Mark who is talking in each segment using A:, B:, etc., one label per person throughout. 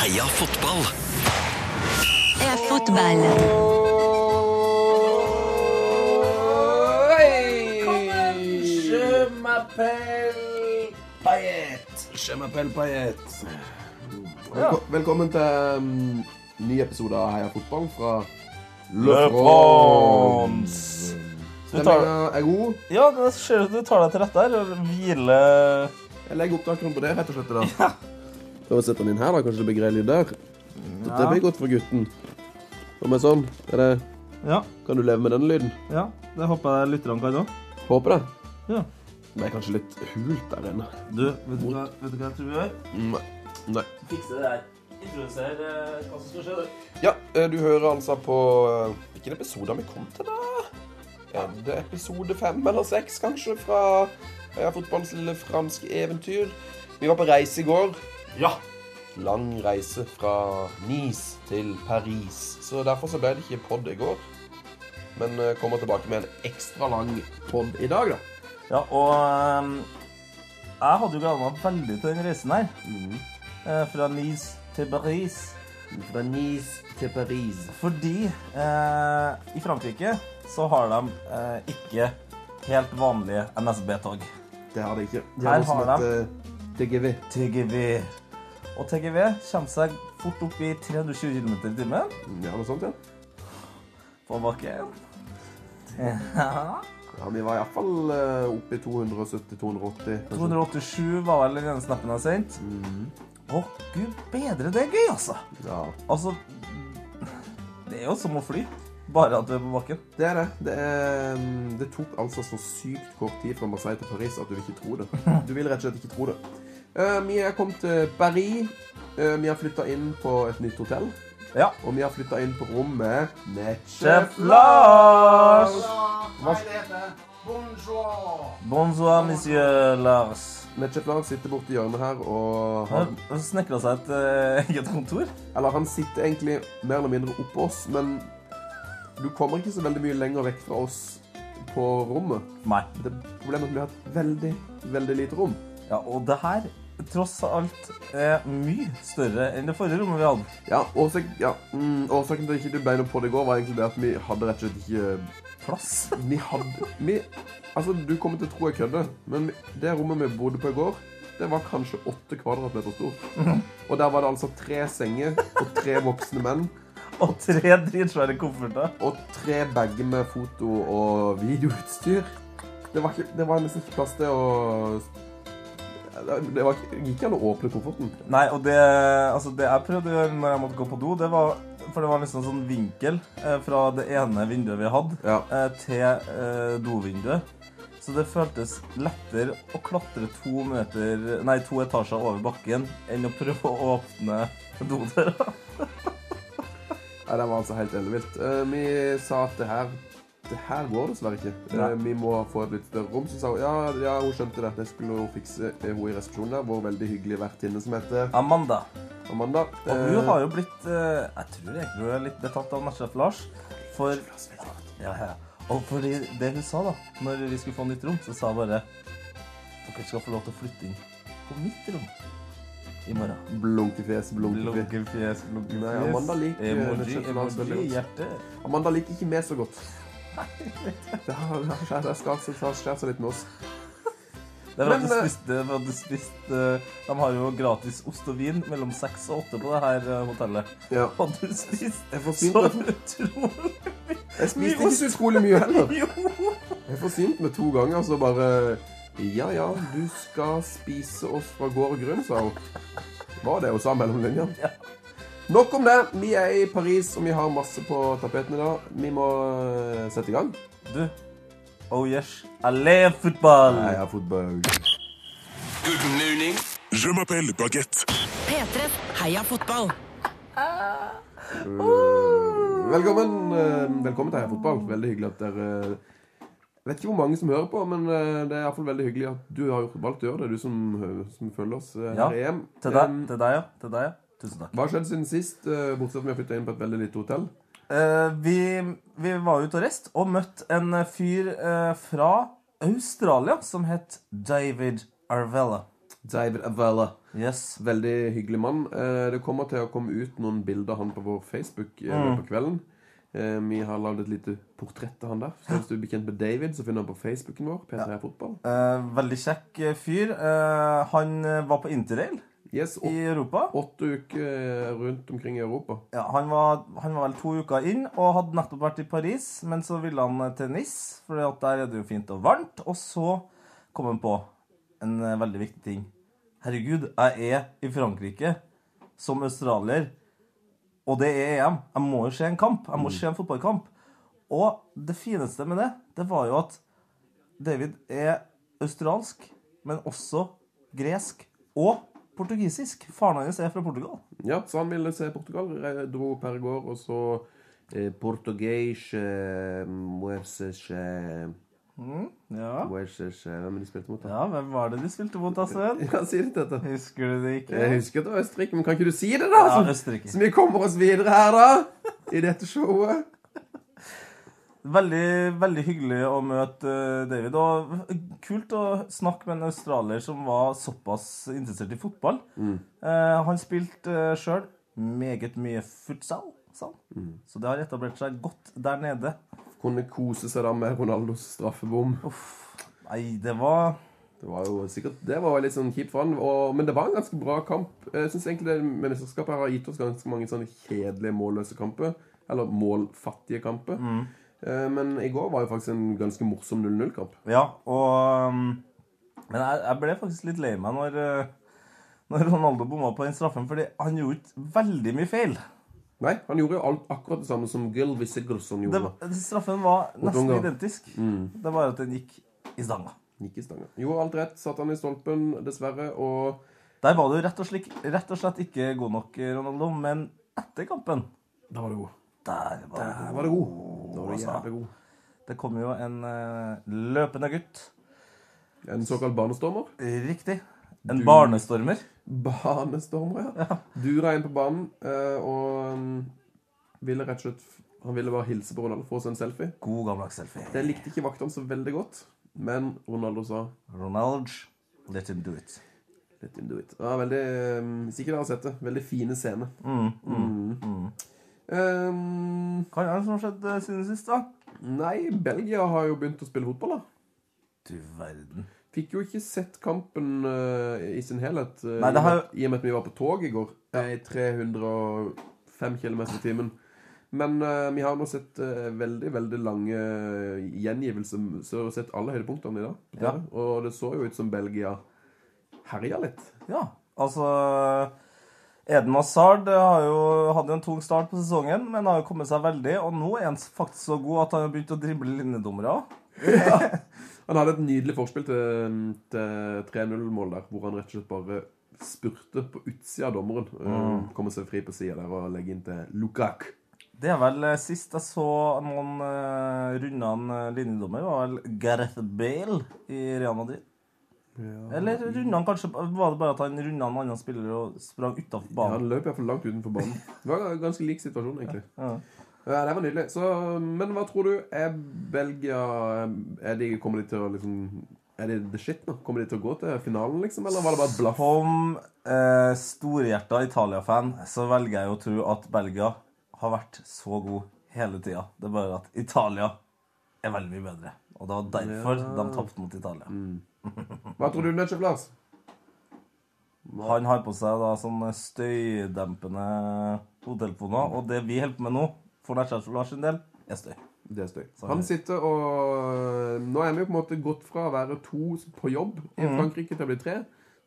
A: Heia fotball!
B: er fotball.
C: Je m'appelle Payet. Je m'appelle Payet.
D: Velko Velkommen til um, ny episode av Heia fotball fra Le
C: Le France. Du tar,
D: Stemninga er god.
C: ja, det ser ut som du tar deg til rette her. Hvile
D: Jeg legger opptakeren på det, rett og slett. da. Prøv å sette den inn her, da. Kanskje det blir grei lyd der. Dette blir godt for gutten. Om en sånn, er det,
C: Ja,
D: kan du leve med den lyden?
C: ja. Det håper jeg lytterne kan òg.
D: Håper det.
C: Ja.
D: Det er kanskje litt hult der inne.
C: Du, vet du, hva, vet du hva jeg tror vi gjør?
D: Nei. Nei.
C: Fikse det der. Introduser eh, hva som skal skje. du.
D: Ja, eh, du hører altså på eh, Hvilken episode har vi kommet til, da? Er det episode fem eller seks, kanskje, fra ja, fotballens lille franske eventyr? Vi var på reise i går.
C: Ja.
D: Lang reise fra Nice til Paris. Så derfor så ble det ikke pod i går. Men eh, kommer tilbake med en ekstra lang pod i dag, da.
C: Ja, og ehm, jeg hadde jo gleda meg veldig til den reisen her. Eh, Fra Nice til Paris.
D: Fra Nice til Paris.
C: Fordi eh, i Frankrike så har de eh, ikke helt vanlige NSB-tog.
D: Det har liksom eh, de ikke.
C: De har Her noe som har de.
D: TGV.
C: TGV. Og TGV kommer seg fort opp i 320 km i timen
D: Mm, Ja, noe sånt, ja.
C: på bakken.
D: Ja, Vi var iallfall oppe eh, i 270-280.
C: 287 var vel den ene snappen jeg sendte. Å, gud bedre, det er gøy, altså.
D: Ja,
C: Altså Det er jo som å fly, bare at du er på bakken.
D: det er det. Det, er, mm, det tok altså så sykt kort tid fra Marseille til Paris at du vil ikke tro det. Du vil rett og slett ikke tro det. Eh, vi er kommet til Paris. Eh, vi har flytta inn på et nytt hotell.
C: Ja.
D: Og vi har flytta inn på rom med Netchef
C: Chef Lars!
D: Hva-
C: Bonsoir, monsieur Lars.
D: Netchef Lars sitter borti hjørnet her og har
C: Han har snekra seg et eh, eget kontor.
D: Eller han sitter egentlig mer eller mindre oppå oss, men du kommer ikke så veldig mye lenger vekk fra oss på rommet.
C: Nei.
D: Det problemet er at vi har et veldig, veldig lite rom.
C: Ja, og det her, tross alt, er mye større enn det forrige rommet vi hadde.
D: Ja, årsak, ja mm, Årsaken til at ikke du ble noe på det i går, var egentlig det at vi hadde rett og slett ikke
C: Plass.
D: Vi hadde vi, Altså, du kommer til å tro jeg kødder, men vi- det rommet vi bodde på i går, det var kanskje åtte kvadratmeter stort. Og der var det altså tre senger og tre voksne menn.
C: Og tre dritsvære kofferter.
D: og tre bager med foto- og videoutstyr. Det var, ikke, det var nesten ikke plass til å Det var ikke, gikk ikke an å åpne kofferten.
C: Nei, og det, altså, det jeg prøvde å gjøre når jeg måtte gå på do, det var For det var liksom en sånn vinkel eh, fra det ene vinduet vi hadde,
D: Ja.
C: eh, til eh, dovinduet. Så det føltes lettere å klatre to, meter, nei, to etasjer over bakken enn å prøve å åpne dodøra.
D: Nei, det var altså helt ellevilt. Eh, vi sa at det her det her går dessverre ikke. Eh,
C: Nei.
D: vi må få et litt større rom. Så sa hun ja, ja, hun skjønte det. Det skulle hun fikse eh, hun i resepsjonen der. Vår veldig hyggelige vertinne som heter
C: Amanda.
D: Amanda.
C: Og hun har jo blitt eh, Jeg tror egentlig hun er litt betatt av Matchef Lars. For ja, ja. Og fordi det hun sa, da Når vi skulle få nytt rom, så sa hun bare Dere skal få lov til å flytte inn på mitt rom i morgen.
D: Eh, Blunkefjes, blunkefjes.
C: Bloggefjes, bloggefjes.
D: Nei, Amanda liker
C: emoji,
D: Matchef Lars veldig
C: emoji,
D: godt.
C: hjerte.
D: Amanda liker ikke meg så godt. Det har, det har skjedd- det har skjært seg litt med oss.
C: Det var
D: Men,
C: at du
D: eh,
C: spiste, det var at du spiste eh, De har jo gratis ost og vin mellom seks og åtte på det her eh, hotellet.
D: Ja.
C: Og du spiste
D: Jeg forsynte
C: så
D: meg
C: utrolig
D: Jeg spiste ikke så utrolig mye heller.
C: Jo!
D: Jeg forsynte meg to ganger, så bare Ja ja, du skal spise oss fra gård og grunn, sa hun. Var det hun sa mellom linjene? Nok om det. Vi er i Paris, og vi har masse på tapeten i dag. Vi må eh, sette i gang.
C: Du, oh yes, allé fotball!
D: Jeg har fotball.
A: Good morning.
E: Je m'appelle Baguette.
B: P3 Heia fotball.
D: Velkommen, eh, velkommen til Heia Fotball. Veldig hyggelig at dere jeg vet ikke hvor mange som hører på, men eh, det er i hvert fall veldig hyggelig at du har valgt å gjøre det, du som, eh, som følger oss eh,
C: Ja,
D: her i EM.
C: Til deg,
D: Em,
C: til deg, ja. Til deg, ja. Tusen takk.
D: Um, Hva har skjedd siden sist, eh, bortsett fra at vi har flytta inn på et veldig lite hotell?
C: Eh, vi, vi var ute og reist og møtte en eh, fyr eh, fra Australia som het David Arvella.
D: David Avella.
C: Yes.
D: Veldig hyggelig mann. Eh, Det kommer til å komme ut noen bilder av han på vår Facebook mm. på kvelden. Eh, Vi har lagd et lite portrett av han der. Så hvis du er bekjent med David, så finner han på Facebooken vår. P3 Fotball.
C: Eh, veldig kjekk eh, fyr. Eh, han eh, var på interrail
D: Yes,
C: i
D: åtte,
C: Europa.
D: åtte uker eh, rundt omkring i Europa.
C: Ja, han, var, han var vel to uker inn og hadde nettopp vært i Paris, men så ville han eh, til Nice, for der er det jo fint og varmt. Og så kom han på en eh, veldig viktig ting. Herregud, jeg er i Frankrike som australier, og det er EM. Jeg må jo se en kamp. Jeg må se en fotballkamp. Og det fineste med det, det var jo at David er australsk, men også gresk og portugisisk. Faren hans er fra Portugal.
D: Ja, så han ville se Portugal. Re- Dro per gård, og så eh, Portuguese eh, Muerces eh,
C: Ja.
D: Muerces eh, Hvem er de spilte mot, da?
C: Ja, hvem var det de spilte mot, da, Sven?
D: Ja, si det, dette.
C: Husker du det ikke?
D: Jeg husker at det var Østerrike, men kan ikke du si det, da?
C: Ja,
D: så-
C: Østerrike.
D: Så vi kommer oss videre her, da. I dette showet.
C: Veldig, veldig hyggelig å møte eh, David. Og kult å snakke med en australier som var såpass interessert i fotball. Eh, han spilte eh, sjøl meget mye futsal, sa han. Så det har etablert seg godt der nede.
D: Kunne kose seg da med Ronaldos straffebom.
C: Nei, det var
D: Det var jo sikkert Det var litt sånn kjipt for han. Og, men det var en ganske bra kamp. Jeg syns egentlig det med mesterskapet her har gitt oss ganske mange sånne kjedelige målløse kamper. Eller målfattige kamper.
C: Mm.
D: Eh, Men i går var jo faktisk en ganske morsom 0-0-kamp.
C: Ja, og um, Men jeg, jeg ble faktisk litt lei meg når, eh, når Ronaldo bomma på den straffen, fordi han gjorde ikke veldig mye feil.
D: Nei, han gjorde jo alt akkurat det samme som Gylvi Sigurdsson
C: Det,
D: gjorde.
C: den straffen var nesten
D: Tonga.
C: identisk.
D: Mm.
C: Det var bare at den gikk i stanga.
D: Gikk i stanga. Gjorde alt rett, satte han i stolpen, dessverre, og
C: Der var du rett og, slik, rett og slett ikke god nok, Ronaldo, men etter kampen
D: Da var det god.
C: Der var du
D: Da
C: god.
D: var det god. Da var det
C: altså.
D: jævlig god.
C: Det kom jo en eh, løpende gutt.
D: En såkalt barnestormer.
C: Riktig. En barnestormer.
D: Banestormer, ja. Dura inn på banen eh, og mm, ville rett og slett Han ville bare hilse på Ronaldo, få seg en selfie.
C: God gammeldags selfie.
D: Det likte ikke vaktene så veldig godt, men Ronaldo sa
C: Ronald, let him do it.
D: Let him do it. Ja, veldig, eh, Hvis ikke dere har sett det, veldig fine scener. Mm. Eh,
C: Hva er det som har skjedd eh, siden sist, da?
D: nei, Belgia har jo begynt å spille fotball, da.
C: Du verden.
D: Fikk jo ikke sett kampen eh, i sin helhet, eh,
C: Nei, det har
D: i og med- i og med at vi var på tog i går. eh, I 305 km i timen. Men eh, vi har nå sett eh, veldig, veldig lange eh, gjengivelser. Så vi har sett alle høydepunktene i dag. på TV.
C: Ja.
D: Og det så jo ut som Belgia herja litt.
C: Ja, altså Eden Hazard eh, har jo, hadde jo en tung start på sesongen, men har jo kommet seg veldig. Og nå er han faktisk så god at han har begynt å drible linjedommere òg.
D: Han hadde et nydelig forspill til, mm, til 3-0-mål der, hvor han rett og slett bare spurte på utsida av dommeren. Mm. Kommer seg fri på sida der og legger inn til Lukak.
C: Det er vel eh, sist jeg så noen uh, runde av en eh, linjedommer, var vel Gareth Bale i Real Madrid. Eller runda han kanskje Var det bare at han runda en annen spiller og sprang utafor banen?
D: Han løp iallfall langt utenfor banen. Det var en ganske lik situasjon, egentlig. Ja, det var nydelig. Så, men hva tror du? Er Belgia er de, Kommer de til å liksom Er det the shit nå? Kommer de til å gå til finalen, liksom? Eller var det bare et blaff?
C: Som eh, storhjerta Italia-fan så velger jeg jo å tro at Belgia har vært så god hele tida. Det er bare at Italia er veldig mye bedre. Og det var derfor de tapte mot Italia.
D: Hva tror du, Nødskjøp Lars?
C: Han har på seg da sånne støydempende hodetelefoner, og det vi holder på med nå, for Lars Lars sin del, er støy.
D: Det er støy. Han sitter og Nå er vi jo på en måte gått fra å være to på jobb i Frankrike til å bli tre.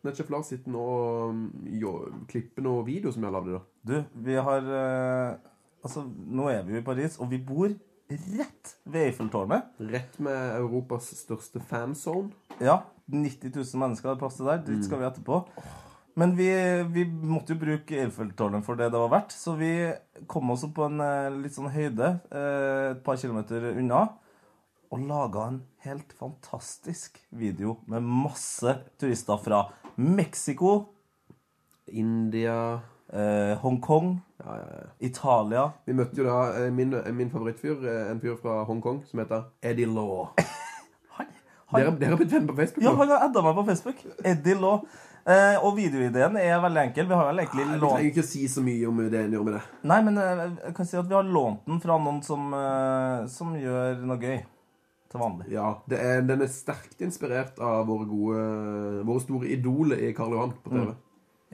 D: Netchef Lars sitter nå og jo, klipper noe video som jeg har lagd. da.
C: Du, vi har eh, Altså, nå er vi jo i Paris, og vi bor rett ved Eiffeltårnet.
D: Rett med Europas største fanzone.
C: Ja, 90 000 mennesker har plass til der. Dit skal vi etterpå. Men vi, vi måtte jo bruke Eiffeltårnet for det det var verdt, så vi kom oss opp på en eh, litt sånn høyde eh, et par kilometer unna og laga en helt fantastisk video med masse turister fra Mexico,
D: India
C: eh, Hongkong, Italia
D: Vi møtte jo da eh, min, min favorittfyr, eh, en fyr fra Hongkong, som heter Eddie Law.
C: Han, han
D: Dere dere har blitt venner på Facebook?
C: Ja,
D: nå?
C: han har adda meg på Facebook. Eddie Law. Eh, og videoideen er veldig enkel. Vi har vel egentlig
D: Vi
C: lånt
D: trenger ikke å si så mye om det en gjør med det.
C: Nei, men eh, jeg kan si at vi har lånt den fra noen som, eh, som gjør noe gøy. Til vanlig.
D: Ja, det er, Den er sterkt inspirert av våre gode, våre store idoler i Karl Johan på TV.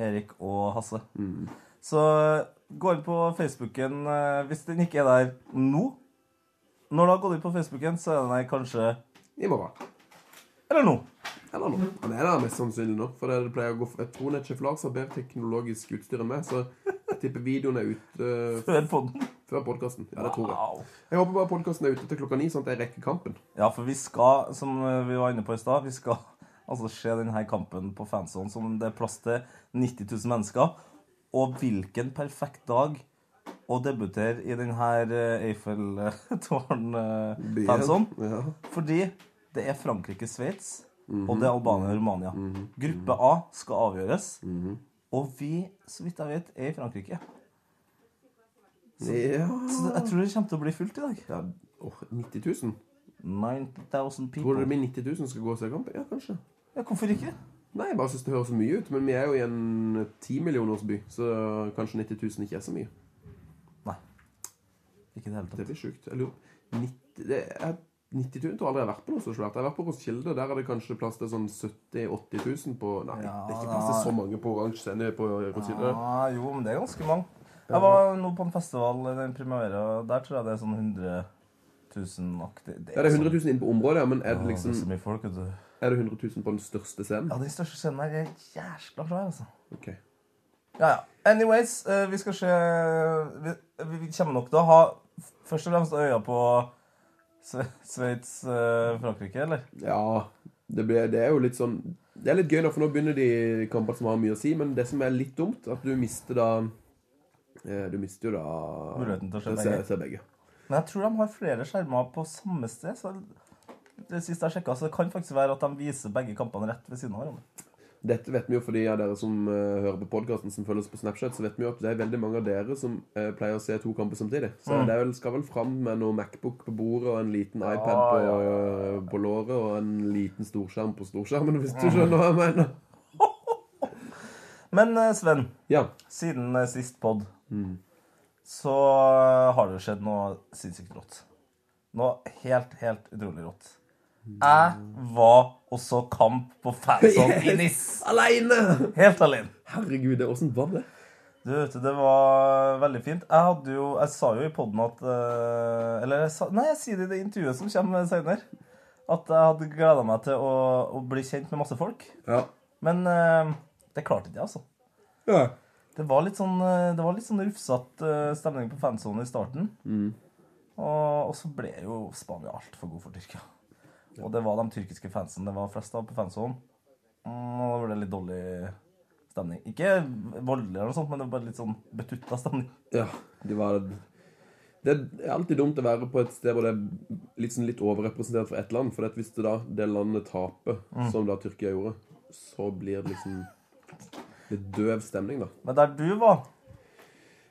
C: Erik og Hasse.
D: Mm.
C: Så eh, gå inn på Facebooken eh, hvis den ikke er der nå. Når du har gått inn på Facebooken, så er den der kanskje
D: I morgen.
C: Eller nå.
D: Eller nå. Han er der mest sannsynlig nå. For det pleier å gå Jeg tror Nettsjef Lars har bedre teknologisk utstyr enn meg, så jeg tipper videoen er ute eh,
C: Hør på den.
D: før podkasten. Ja, det tror jeg.
C: Wow.
D: Jeg håper bare podkasten er ute til klokka ni, sånn at jeg rekker kampen.
C: Ja, for vi skal, som eh, vi var inne på i stad, vi skal altså se denne kampen på fansonen som det er plass til 90 000 mennesker. Og hvilken perfekt dag å debutere i eh, denne
D: Byen.
C: Eiffeltårn-fansonen.
D: Ja.
C: eh, Fordi det er Frankrike-Sveits, og det er Albania og Romania.
D: Mhm.
C: Gruppe A skal avgjøres. Og vi, så vidt jeg vet, er i Frankrike.
D: ja.
C: Så det- jeg tror det kommer til å bli fullt i dag.
D: Ja, åh, 90 000?
C: 9000
D: Tror du det
C: people.
D: blir 90 000 som skal gå og se kamp? Ja, kanskje.
C: Ja, hvorfor ikke?
D: Nei, jeg bare synes det høres så mye ut. Men vi er jo i en 10 millionersby, så kanskje 90 000 ikke er så mye.
C: Nei. Ikke i det hele tatt.
D: Det blir sjukt. Jeg lurer 90, det er, 90 000 tror jeg aldri jeg har vært på noe så svært. Jeg har vært på Roskilde. Der er det kanskje plass til sånn 70 000-80 000 på Nei, det er ikke plass til så mange på oransje scene på Roskilde.
C: Ja, Ah, jo, men det er ganske mange. Jeg var nå på en festival i den primavera, og der tror jeg det er sånn 100 000-aktig.
D: Ja, det er 100 000 inne på området, ja, men er det
C: liksom
D: liksom
C: så mye folk, vet du.
D: Er det 100 000 på den største
C: Ja,
D: scenen?
C: den største scenen her er jæskla svær, altså.
D: Ok.
C: Ja, ja. Anyways, eh, vi skal se vi, vi vi kommer nok til å ha f- først og fremst øya på Sve- Sveits, eh, Frankrike, eller?
D: Ja, det, blir, det er jo litt sånn Det er litt gøy, da, for nå begynner de kampene som har mye å si. Men det som er litt dumt, at du mister da eh, Du mister jo da
C: Muligheten til å se begge.
D: se begge.
C: Men jeg tror de har flere skjermer på samme sted. så det siste jeg sjekket, så det kan faktisk være at de viser begge kampene rett ved siden av hverandre.
D: Dette vet vi jo for de av dere som eh, hører på podkasten som følger oss på Snapchat, så vet vi jo at det er veldig mange av dere som eh, pleier å se to kamper samtidig. Så
C: Mm.
D: det er vel, skal vel fram med noe Macbook på bordet og en liten iPad på, eh, på låret og en liten storskjerm på storskjermen, hvis du skjønner hva jeg mener.
C: Men eh, Sven,
D: Ja.
C: siden eh, sist pod, så eh, har det jo skjedd noe sinnssykt rått. Noe helt, helt utrolig rått. Jeg var og så kamp på fanzone i Nis.
D: Aleine!
C: Helt alene.
D: Herregud, det- åssen var det?
C: Du vet, det var eh, veldig fint. Jeg hadde jo, jeg sa jo i podden at eh, Eller jeg sa, nei, jeg sier det i det intervjuet som kommer senere. At jeg hadde gleda meg til å, å bli kjent med masse folk.
D: Ja.
C: Men eh, det klarte ikke jeg, altså.
D: ja.
C: Det var litt sånn, eh, det var litt sånn rufsete eh, stemning på fansonen i starten.
D: Mm.
C: Og, og så ble jo Spania altfor god for Tyrkia. Og det var de tyrkiske fansen det var flest av på fansonen. Mm, og da ble det litt dårlig stemning. Ikke voldelig, eller noe sånt, men det var bare litt sånn betutta stemning.
D: Ja, det var Det er alltid dumt å være på et sted hvor det er litt, sånn litt overrepresentert for ett land. For at hvis det da det landet taper, som da Tyrkia gjorde, så blir det liksom litt døv stemning, da.
C: Men der du var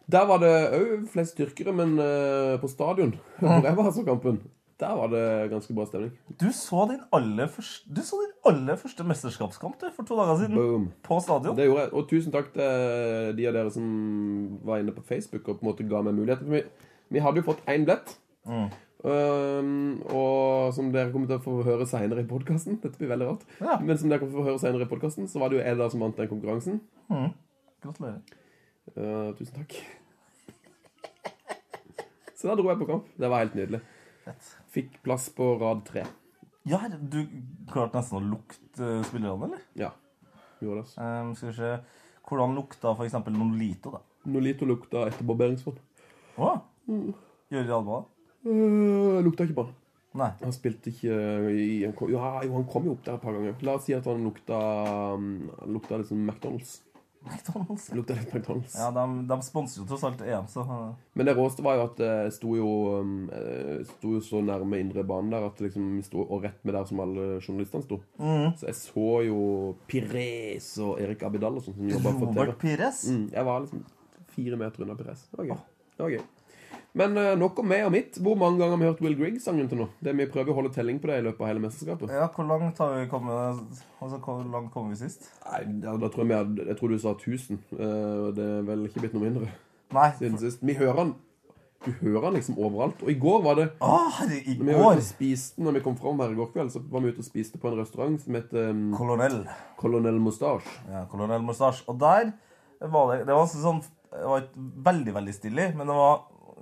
D: Der var det òg flest tyrkere, men eh, på stadion, hvor jeg var så kampen, der var det ganske bra stemning.
C: Du så din aller første, du så din aller første mesterskapskamp du, for to dager siden.
D: Boom.
C: På stadion.
D: Det gjorde jeg. Og tusen takk til de av dere som var inne på Facebook og på en måte ga meg muligheten. For vi, vi hadde jo fått én billett. Um, og som dere kommer til å få høre seinere i podkasten Dette blir veldig rart.
C: Ja.
D: Men som dere kommer til å få høre senere i podcasten, så var det jo jeg da som vant den konkurransen.
C: Gratulerer.
D: Uh, tusen takk. Så da dro jeg på kamp. Det var helt nydelig. Fikk plass på rad tre.
C: Ja, herre, du klarte nesten å lukte eh, spillerne, eller?
D: Ja. Gjorde det. altså.
C: Ehm, skal vi se Hvordan lukta for eksempel Nolito, da?
D: Nolito lukta etter barberingsvann.
C: Å?
D: Mm.
C: Gjør i Alba?
D: Uh, lukta ikke på den.
C: Nei.
D: Han spilte ikke eh, i han kom, ja, Jo, han kom jo opp der et par ganger. La oss si at han lukta um, Han lukta litt som McDonald's.
C: McDonald's.
D: Han Lukta litt McDonald's.
C: Ja, de, de sponser jo tross alt EM, så eh,
D: Men det råeste var jo at det sto jo, um, eh, sto jo så nærme indre bane der at liksom vi sto og rett med der som alle journalistene sto. Så jeg så jo Pires og Erik Abidal og sånn som jobba for TV.
C: eh, Robert Pires?
D: Mm, jeg var liksom fire meter unna Pires. Det var gøy. Det var gøy. Men eh, nok om meg og mitt. Hvor mange ganger har vi hørt Will Grigg-sangen til nå? Det Vi prøver å holde telling på det i løpet av hele mesterskapet.
C: Ja, hvor langt har vi kommet? Altså, hvor langt kom vi sist?
D: Nei, da, da tror jeg, vi hadde, jeg tror du sa 1000. Eh, det er vel ikke blitt noe mindre
C: Nei.
D: siden sist. Vi hører han Du hører han liksom overalt. Og i går var det
C: Å, herre, i
D: når vi var ute
C: går!
D: og spiste, når vi kom fram her i går kveld, så var vi ute og spiste på en restaurant som het um,
C: Kolonell.
D: Colonel Mustache.
C: Ja, Colonel Mustache. Og der var det Det var altså sånn Det var ikke veldig, veldig stille, men det var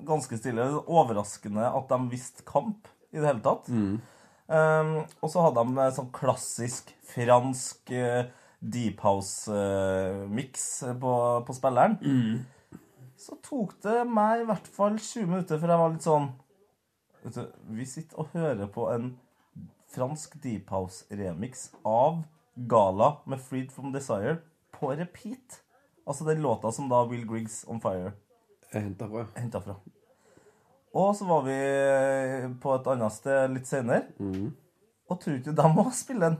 C: ganske stille. Det var Overraskende at de visste kamp i det hele tatt. Um, og så hadde de eh, sånn klassisk fransk eh, deep house-miks på, på spilleren. Så tok det meg i hvert fall 20 minutter før jeg var litt sånn Vet du, vi sitter og hører på en fransk deep house-remix av Gala med 'Freed From Desire' på repeat. Altså den låta som da Will Griggs On Fire
D: Jeg henter fra.
C: henta fra. Og så var vi på et annet sted litt senere, og tror ikke de òg spiller den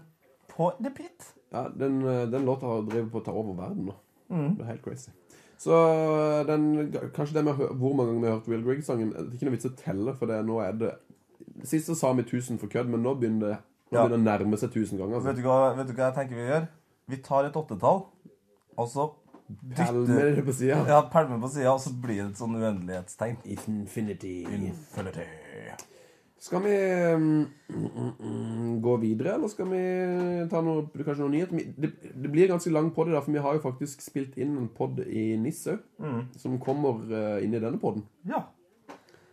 C: på repeat.
D: Ja, den, eh, den låta har drevet på å ta over verden nå.
C: Mm.
D: Det er helt crazy. Så eh, den, kanskje det med å hø- hvor mange ganger vi har hørt Will Grigg-sangen Det er ikke noe vits å telle, for det, nå er det Sist så sa vi 1000 for kødd, men nå begynner det nå
C: Ja.
D: begynner det å nærme seg 1000 ganger.
C: Vet
D: Altså.
C: du, hva, vet du hva jeg tenker vi gjør? Vi tar et åttetall, og så
D: Pælmer
C: dytter
D: det på sida.
C: ja, pælmer på sida, og så blir det et sånn uendelighetstegn.
D: Infinity.
C: Infinity.
D: Skal vi mm, mm, mm, gå videre, eller skal vi ta noe, kanskje noen nyheter? Vi- Det, det blir ganske lang podd i dag, for vi har jo faktisk spilt inn en podd i Nissau,
C: Mm.
D: som kommer eh, inn i denne podden.
C: Ja.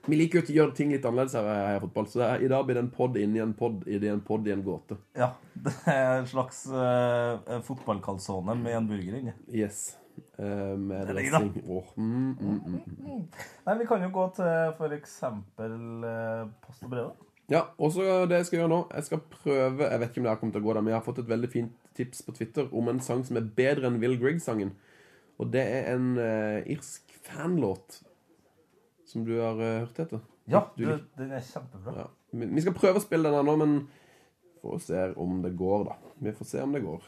D: Vi liker jo å gjøre ting litt annerledes her i Heia fotball, så det er, i dag blir det en podd inni en podd i det en podd i en gåte.
C: Ja, det er en slags uh, fotballkalsone med en burger inni.
D: Yes. Eh, med
C: er digg, da.
D: dressing. Åh, mm, mm, mm.
C: Nei, vi kan jo gå til for eksempel eh, post og brev. da.
D: Ja, og så det jeg skal gjøre nå Jeg skal prøve, jeg vet ikke om det her kommer til å gå da Men jeg har fått et veldig fint tips på Twitter Om en sang som er bedre enn Will Grigg-sangen Og det er en eh, irsk fanlåt Som du har eh, hørt etter
C: Ja,
D: du,
C: du,
D: lik-
C: den er kjempebra.
D: ja. Vi vi skal prøve å spille den her nå Men får se om det går da Vi får se om det går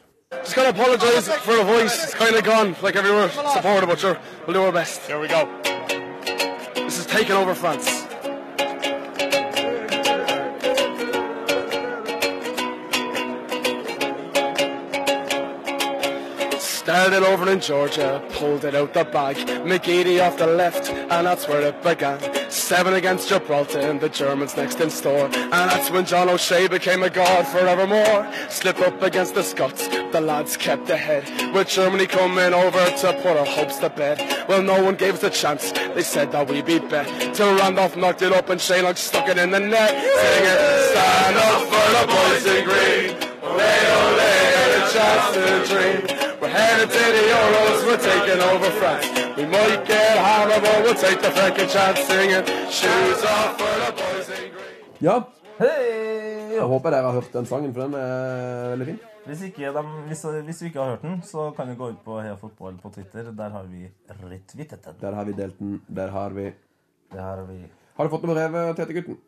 F: Just gotta apologise for the voice. It's kind of gone, like everyone supported, but sure, we'll do our best. Here we go. This is taking over France. Started over in Georgia, pulled it out the bag. McGeady off the left, and that's where it began. Seven against Gibraltar, and the Germans next in store. And that's when John O'Shea became a god forevermore. Slip up against the Scots, the lads kept ahead. With Germany coming over to put our hopes to bed. Well, no one gave us a chance, they said that we'd be bet. Till Randolph knocked it up, and Shea like stuck it in the net. Singing, stand up for the boys in green. Ole, ole, get a chance to dream. We're headed to the Euros, we're taking over France. We might get hammered, but we'll take the freaking chance singing. Shoes off for the boys in green.
D: Ja,
C: Hei!
D: jeg håper dere har hørt den sangen For den er veldig fin
C: Hvis, ikke de, hvis, hvis du ikke har hørt den, så kan du gå ut på Heia Fotball på Twitter. Der har vi retweetet den.
D: Der har vi delt den, der har vi
C: Det har vi.
D: Har du fått noe brev, Tete gutten?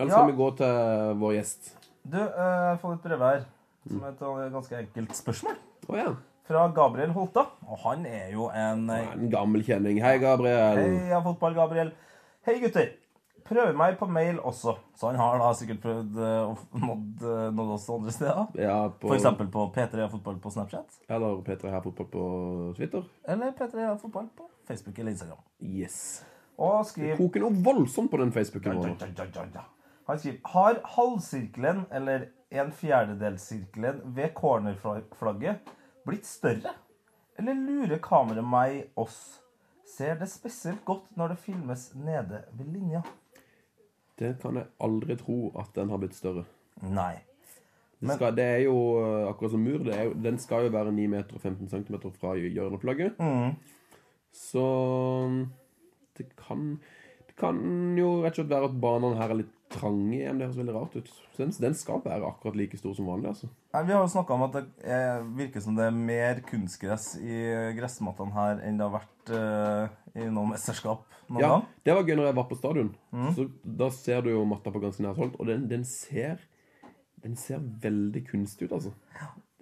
D: Eller
C: Ja.
D: skal vi gå til vår gjest?
C: Du, eh, jeg får et brev her som er et eh, ganske enkelt spørsmål.
D: Åja,
C: Fra Gabriel Holta. Og han er jo en eh,
D: en gammel kjenning Hei Gabriel
C: Hei, av fotball, Gabriel. Hei, gutter. Prøv meg på mail også. Så han har da sikkert prøvd eh, å nådd, eh, nådd oss andre steder.
D: Ja, på,
C: For eksempel på P3 Fotball på Snapchat.
D: Eller P3 her fotball på Twitter.
C: Eller P3 Fotball på Facebook eller Instagram.
D: Yes.
C: Og skriv
D: Koker noe voldsomt på den Facebooken vår. nå.
C: Han skriver Har halvsirkelen, eller en fjerdedelssirkelen, ved cornerflagget blitt større? Eller lurer kameraet meg oss? Ser det spesielt godt når det filmes nede ved linja?
D: Det kan jeg aldri tro at den har blitt større.
C: Nei.
D: Det, skal, det er jo eh, akkurat som mur. Det er jo, den skal jo være 9 meter og 15 cm fra hjørneplagget.
C: Mm.
D: Så mm, det kan Det kan jo rett og slett være at banene her er litt trange igjen. Det høres veldig rart ut. Så den, den skal være akkurat like stor som vanlig, altså.
C: Nei, Vi har jo snakka om at det eh, virker som det er mer kunstgress i gressmattene her enn det har vært eh, i noe mesterskap noen
D: Ja,
C: gang.
D: det var gøy når jeg var på stadion.
C: Mhm.
D: Så Da ser du jo matta på ganske nært hold, og den, den ser Den ser veldig kunstig ut, altså.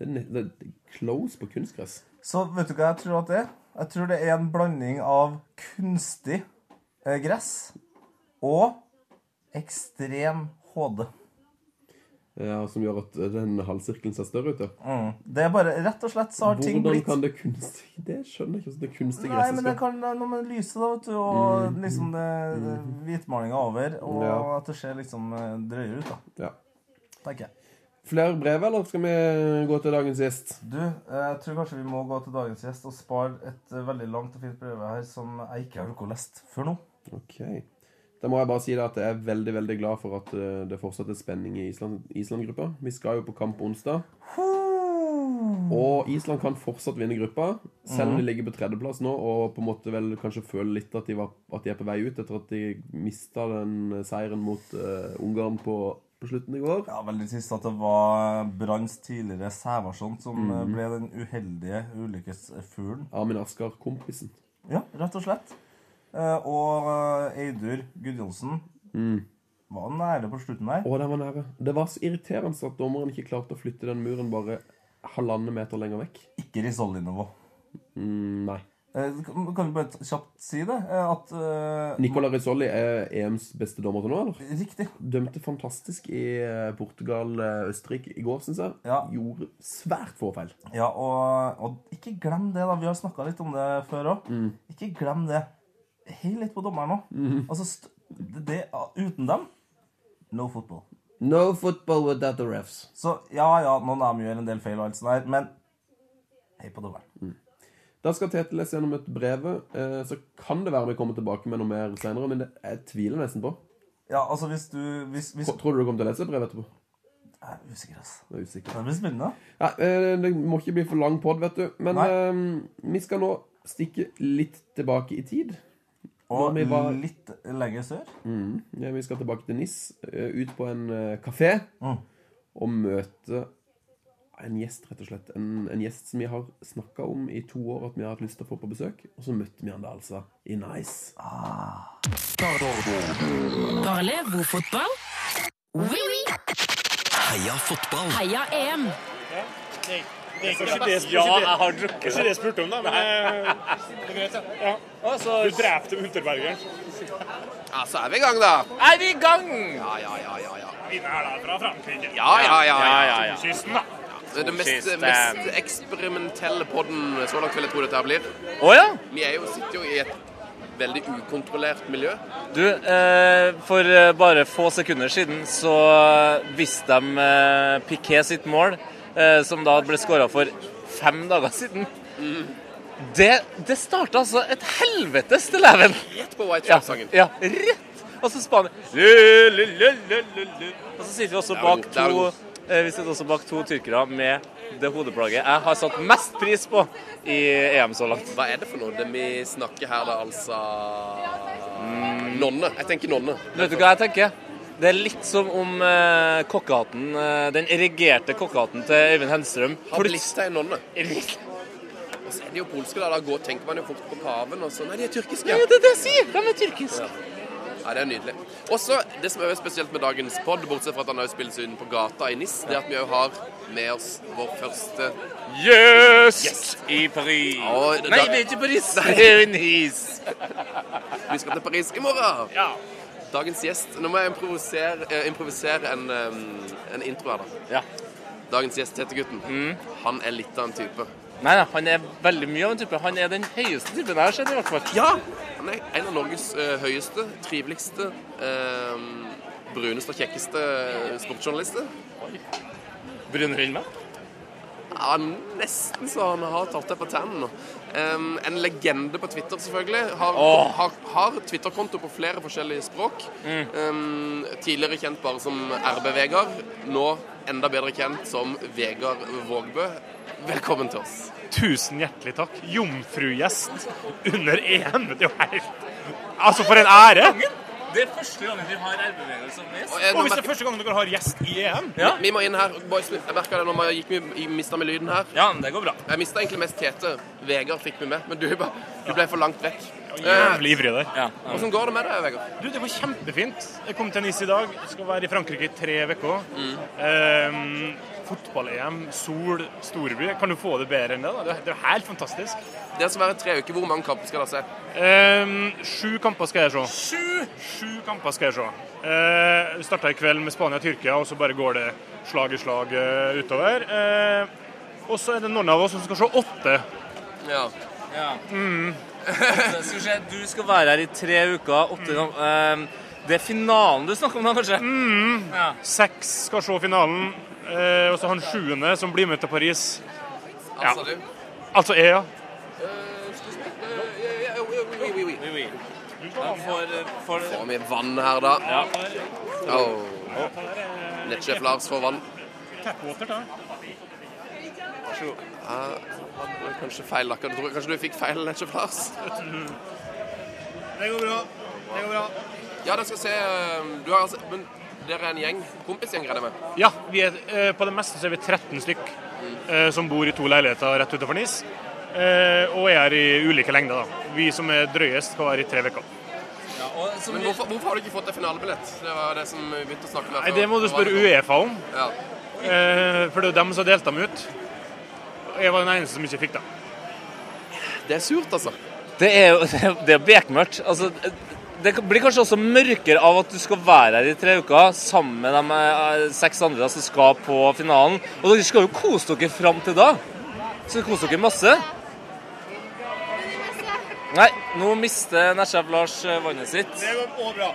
D: Den, er- det er close på kunstgress.
C: Så vet du hva jeg tror at det er? Jeg tror det er en blanding av kunstig eh, gress Og ekstrem HD.
D: Ja, eh, som gjør at den halvsirkelen ser større ut, ja.
C: Mm. Det er bare, Rett og slett så har ting
D: Hvordan
C: blitt
D: kan det kunstige Det skjønner jeg ikke. hvordan Det kunstige
C: Nei, men det
D: gresset skal
C: kan det er noe med lyset, da, vet du, og liksom det, det hvitmalinga over, og
D: Mm. Ja.
C: at det ser liksom eh, drøyere ut, da.
D: ja.
C: tenker jeg.
D: Flere brev, eller skal vi gå til dagens gjest?
C: Du, eh, jeg tror kanskje vi må gå til dagens gjest og spare et eh, veldig langt og fint brev her som jeg ikke har rukket å lest før nå.
D: Ok. Da må jeg bare si det at jeg er veldig veldig glad for at eh, det fortsatt er spenning i Island- Island-gruppa. Vi skal jo på kamp onsdag. Og Island kan fortsatt vinne gruppa, selv om de ligger på tredjeplass nå og på en måte vel kanskje føler litt at de, var, at de er på vei ut etter at de mista den seieren mot eh, Ungarn på, på slutten i går.
C: Ja, veldig trist at det var Branns tidligere Sævarsson som eh, ble den uheldige ulykkesfuglen.
D: Armin Askar, kompisen.
C: Ja, rett og slett. Eh, og eh, Eidur Gudjonsen Mm. var nære på slutten der.
D: Å, den var nære. Det var så irriterende at dommeren ikke klarte å flytte den muren bare halvannen meter lenger vekk.
C: Ikke Risoldi-nivå.
D: Mm, nei.
C: Eh, kan kan vi bare t- kjapt si det? Eh, at eh,
D: Nicola Rizzoli er EMs beste dommer til nå, eller?
C: Riktig.
D: Dømte fantastisk i eh, Portugal-Østerrike i går, syns jeg.
C: Ja.
D: Gjorde svært få feil.
C: Ja, og, og ikke glem det, da. Vi har snakka litt om det før òg. Ikke glem det. Hei litt på dommeren nå. Altså, st det, det, uten dem no football.
D: No football without the refs.
C: Så ja, ja, noen av dem gjør en del feil, og alt sånt der, men hei på dommeren.
D: Da skal Tete lese gjennom et brev. eh, Så kan det være vi kommer tilbake med noe mer senere, men det, jeg tviler nesten på.
C: Ja, altså hvis du hvis, hvis,
D: Tror du du kommer til å lese et brev etterpå?
C: Jeg er usikker, ass.
D: Jeg er usikker.
C: Det blir spennende.
D: Nei, eh, det må ikke bli for lang pod, vet du. Men eh, vi skal nå stikke litt tilbake i tid.
C: Og
D: vi var-
C: litt lenger sør.
D: Ja, vi skal tilbake til Nis, eh, ut på en eh, kafé,
C: Mm.
D: og møte en gjest, rett og slett. En, en gjest som vi har snakka om i to år at vi har hatt lyst til å få på besøk. Og så møtte vi han da altså i Nice.
G: Barle, hvor fotball? Oui, oui.
H: Heia fotball!
G: Heia EM.
B: Kanskje det, ja, jeg har drukket. Kanskje det jeg spurte om, da. Men, ja. Du drepte Unterbergeren.
I: Ja, så er vi i gang, da. Er vi i gang? Ja, ja, ja. ja, ja.
B: Inne er da fra Frankrike.
I: Ja, ja, ja, ja, ja, ja.
B: Kysten, da.
I: Det er den mest,
B: Siste.
I: mest eksperimentelle podden så langt vil jeg tro dette her blir.
B: Å ja.
I: Vi er jo, sitter jo i et veldig ukontrollert miljø.
B: Du, eh, for eh, bare få sekunder siden så visste de eh, Piquet sitt mål, eh, som da ble skåra for fem dager siden. Mm. Det, det starta altså et helvetes til leven!
I: Rett på White Shark-sangen.
B: Ja, ja, rett! Og så Spania Lø, lø, lø, lø, lø, lø. Og så sitter vi også
I: Der var
B: bak
I: god, der var
B: to
I: god.
B: eh, Vi sitter også bak to tyrkere med det hodeplagget jeg har satt mest pris på i EM så langt.
I: Hva er det for noe? Det vi snakker her, da, altså Nonne. Jeg tenker nonne.
B: Vet du hva jeg tenker? Det er litt som om eh, kokkehatten, eh, den erigerte kokkehatten til Øyvind Henstrøm
I: Har blista en nonne.
B: Plutselig-
I: Og så er de jo polske, da. Da går, tenker man jo fort på paven og sånn. Nei, de er tyrkiske.
B: Ja, det er det jeg sier! De er tyrkiske.
I: Ja, det er nydelig. Også det som er spesielt med dagens pod, bortsett fra at han også spilles inn på gata i NIS, det er at vi også har med oss vår første
B: Yes! I Paris.
I: Å, det-
B: Nei,
I: da-
B: vi er ikke i Paris.
I: Nei.
B: Det er jo Nice.
I: Vi skal til Paris i morgen!
B: Ja.
I: Dagens gjest Nå må jeg improvisere, eh, improvisere en, eh, en intro her, da.
B: Ja. Mm.
I: Dagens gjest, Tete-gutten, han er litt av en type.
B: Nei, nei, han er veldig mye av en type. Han er den høyeste typen jeg har sett, i hvert fall. Ja!
I: Han er en av Norges eh, høyeste, triveligste, eh, bruneste og kjekkeste sportsjournalister.
B: Brunhund, hva?
I: Ja, nesten så han har tatt det på tennene nå. Em, en legende på Twitter, selvfølgelig. Har,
B: Åh.
I: har, har Twitter-konto på flere forskjellige språk. Em, tidligere kjent bare som RB-Vegard. Nå enda bedre kjent som Vegard Vågbø. Velkommen til oss.
J: Tusen hjertelig takk. Jomfrugjest under EM. Det er jo helt Altså, for en ære!
B: Det er første gangen vi har RB-vegel som gjest.
I: Og, eh,
J: Og
I: nå
J: hvis det er
I: merker,
J: første gangen dere har gjest i EM
I: vi må inn her. Boys, jeg merka det når vi gikk vi mista med lyden her.
B: Ja, men det går bra.
I: Jeg mista egentlig mest Tete. Vegard fikk vi med, men du, er bare, du ble for langt vekk.
J: Jævlig ivrig der.
B: Ja.
I: Åssen går det med deg, Vegard?
J: Du, det var Mm. kjempefint. Jeg kom til Nice i dag. Skal være i Frankrike i tre uker. Ehm, Fotball-EM, sol, storby. Kan du få det bedre enn det? da? Det er- Det er jo helt fantastisk.
D: Det som er en tre uker, hvor mange kamper skal dere se?
J: Ehm, sju kamper skal jeg se. Sju? kamper skal jeg se. Uh, Starta i kveld med Spania og Tyrkia, og så bare går det slag i slag eh, utover. Eh, og så er det noen av oss som skal se åtte.
D: Ja.
B: Ja. Skal vi se, du skal være her i tre uker. Åtte ganger. Det er finalen du snakker om da, kanskje? Ja.
J: Seks skal se finalen. eh, og så han sjuende som blir med til Paris. Ja.
D: Altså, du?
J: Altså jeg, ja.
D: Hvor
B: Han får, eh, får
D: mye vann her, da?
B: ja.
D: Oh. Nettsjef Lars får vann. Det er Kanskje feil lakker. Du tror- Kanskje du fikk feil nettsjef Lars?
J: Det går bra. Det går bra.
D: Ja, dere skal se eh, du har, altså- Men dere er en gjeng? Kompisgjeng, regner jeg med?
J: Ja, vi er, eh, på det meste så er vi 13 stykk eh, som bor i to leiligheter rett utenfor Nis. Eh, og er i ulike lengder. da. Vi som er drøyest, skal være i tre uker.
B: Og som
D: Men
B: vi-
D: hvorfor, hvorfor har du ikke fått deg finalebillett? Det var det som vi begynte å snakke med.
J: Nei, Det må du spørre Uefa om,
D: Ja.
J: eh, for det er jo dem som delte dem ut. Jeg var den eneste som ikke fikk det.
D: Det er surt, altså.
B: Det er jo det er- det er bekmørkt. Altså, det blir kanskje også mørkere av at du skal være her i tre uker sammen med de eh, seks andre som skal på finalen. Og dere skal jo kose dere fram til da. Så kose dere masse. Nei, nå mister Nesjef Lars eh, vannet sitt. Det går bra.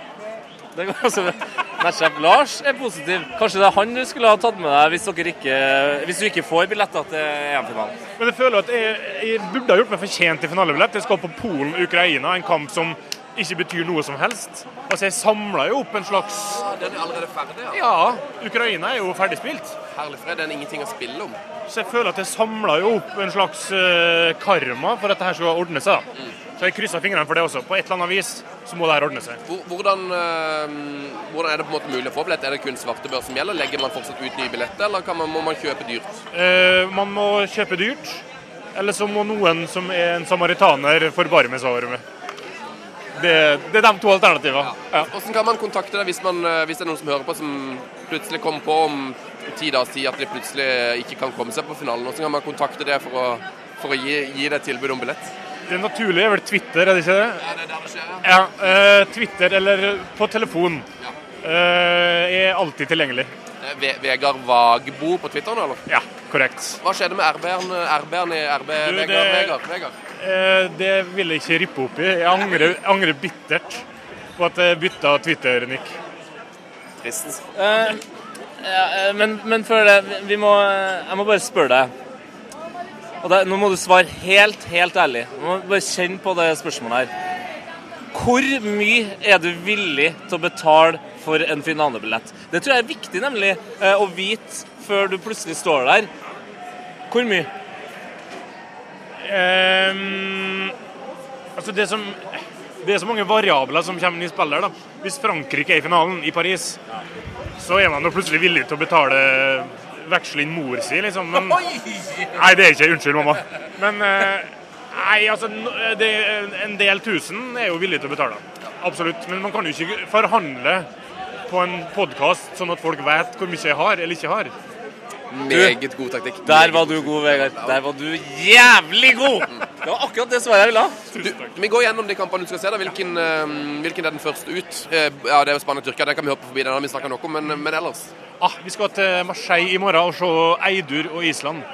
B: Det går også bra. Nesjef Lars er positiv. Kanskje det er han du skulle ha tatt med deg hvis, dere ikke, hvis du ikke får billetter til EM-finalen.
J: Men jeg føler at jeg, jeg burde ha gjort meg fortjent til finalebillett. Jeg skal på Polen-Ukraina, en kamp som ikke betyr noe som helst. Altså, Jeg samla jo opp en slags
D: Den er allerede ferdig, ja.
J: Ja, Ukraina er jo ferdigspilt.
D: Herlig fred, den er ingenting å spille om.
J: Så jeg føler at jeg samla jo opp en slags eh, karma for at det her skulle ordne seg. da.
D: Mm.
J: Så jeg kryssa fingrene for det også. På et eller annet vis så må det her ordne seg.
D: Hvor- Hvordan, eh, hvordan er det på en måte mulig å få billett? Er det kun svartebørs som gjelder? Legger man fortsatt ut nye billetter, eller kan man, må man kjøpe dyrt?
J: Eh, man må kjøpe dyrt, eller så må noen som er en samaritaner, forbarme seg over meg. Det, det er de to alternativene. Ja.
D: Hvordan kan man kontakte deg hvis, man, eh, hvis det er noen som hører på, som plutselig kommer på om ti dagers tid at de plutselig ikke kan komme seg på finalen? Hvordan kan man kontakte det for å, for å gi, gi deg tilbud om billett?
J: Det naturlige er vel Twitter, er det ikke det?
D: Ja, det er der det skjer,
J: Ja, eh, Twitter eller på telefon. Eh, jeg er alltid tilgjengelig.
D: Ve Vegard Vagbo på Twitter nå, eller?
J: Ja, korrekt.
D: Hva skjedde med RB-en RB-en i RB?
J: Du,
D: Vegard,
J: det-
D: Vegard, Vegard?
J: Eh, Det vil jeg ikke rippe opp i. Jeg angrer, angrer bittert på at jeg bytta Twitter-nick.
D: Trist.
B: Eh, ja, eh, men, men før det, vi- vi må, eh, jeg må bare spørre deg. Og det, nå må du svare helt, helt ærlig. Du må bare kjenne på det spørsmålet her. Hvor mye er du villig til å betale for en finalebillett? Det tror jeg er viktig nemlig eh, å vite før du plutselig står der. Hvor mye?
J: Ehm, altså det som Det er så mange variabler som kommer inn i spillet. her, da. Hvis Frankrike er i finalen i Paris, så er man jo plutselig villig til å betale veksle inn mor si, liksom. Men, nei, det er ikke Unnskyld, mamma. Men eh, Nei, altså no- det, er En del tusen er jo villig til å betale. Absolutt. Men man kan jo ikke forhandle på en podkast sånn at folk vet hvor mye jeg har eller ikke har.
D: Meget god taktikk.
B: Der var du god, Vegard. Der var du jævlig god! Det var akkurat det svaret jeg ville ha.
D: Du, vi går gjennom de kampene du skal se. da. Hvilken, eh, hvilken er den første ut? Eh, Ja, Det er jo Spania-Tyrkia. Den kan vi hoppe forbi. Den har vi snakket nok om. Men, men ellers
J: Ah, vi skal til Marseille i morgen og se Eidur og Island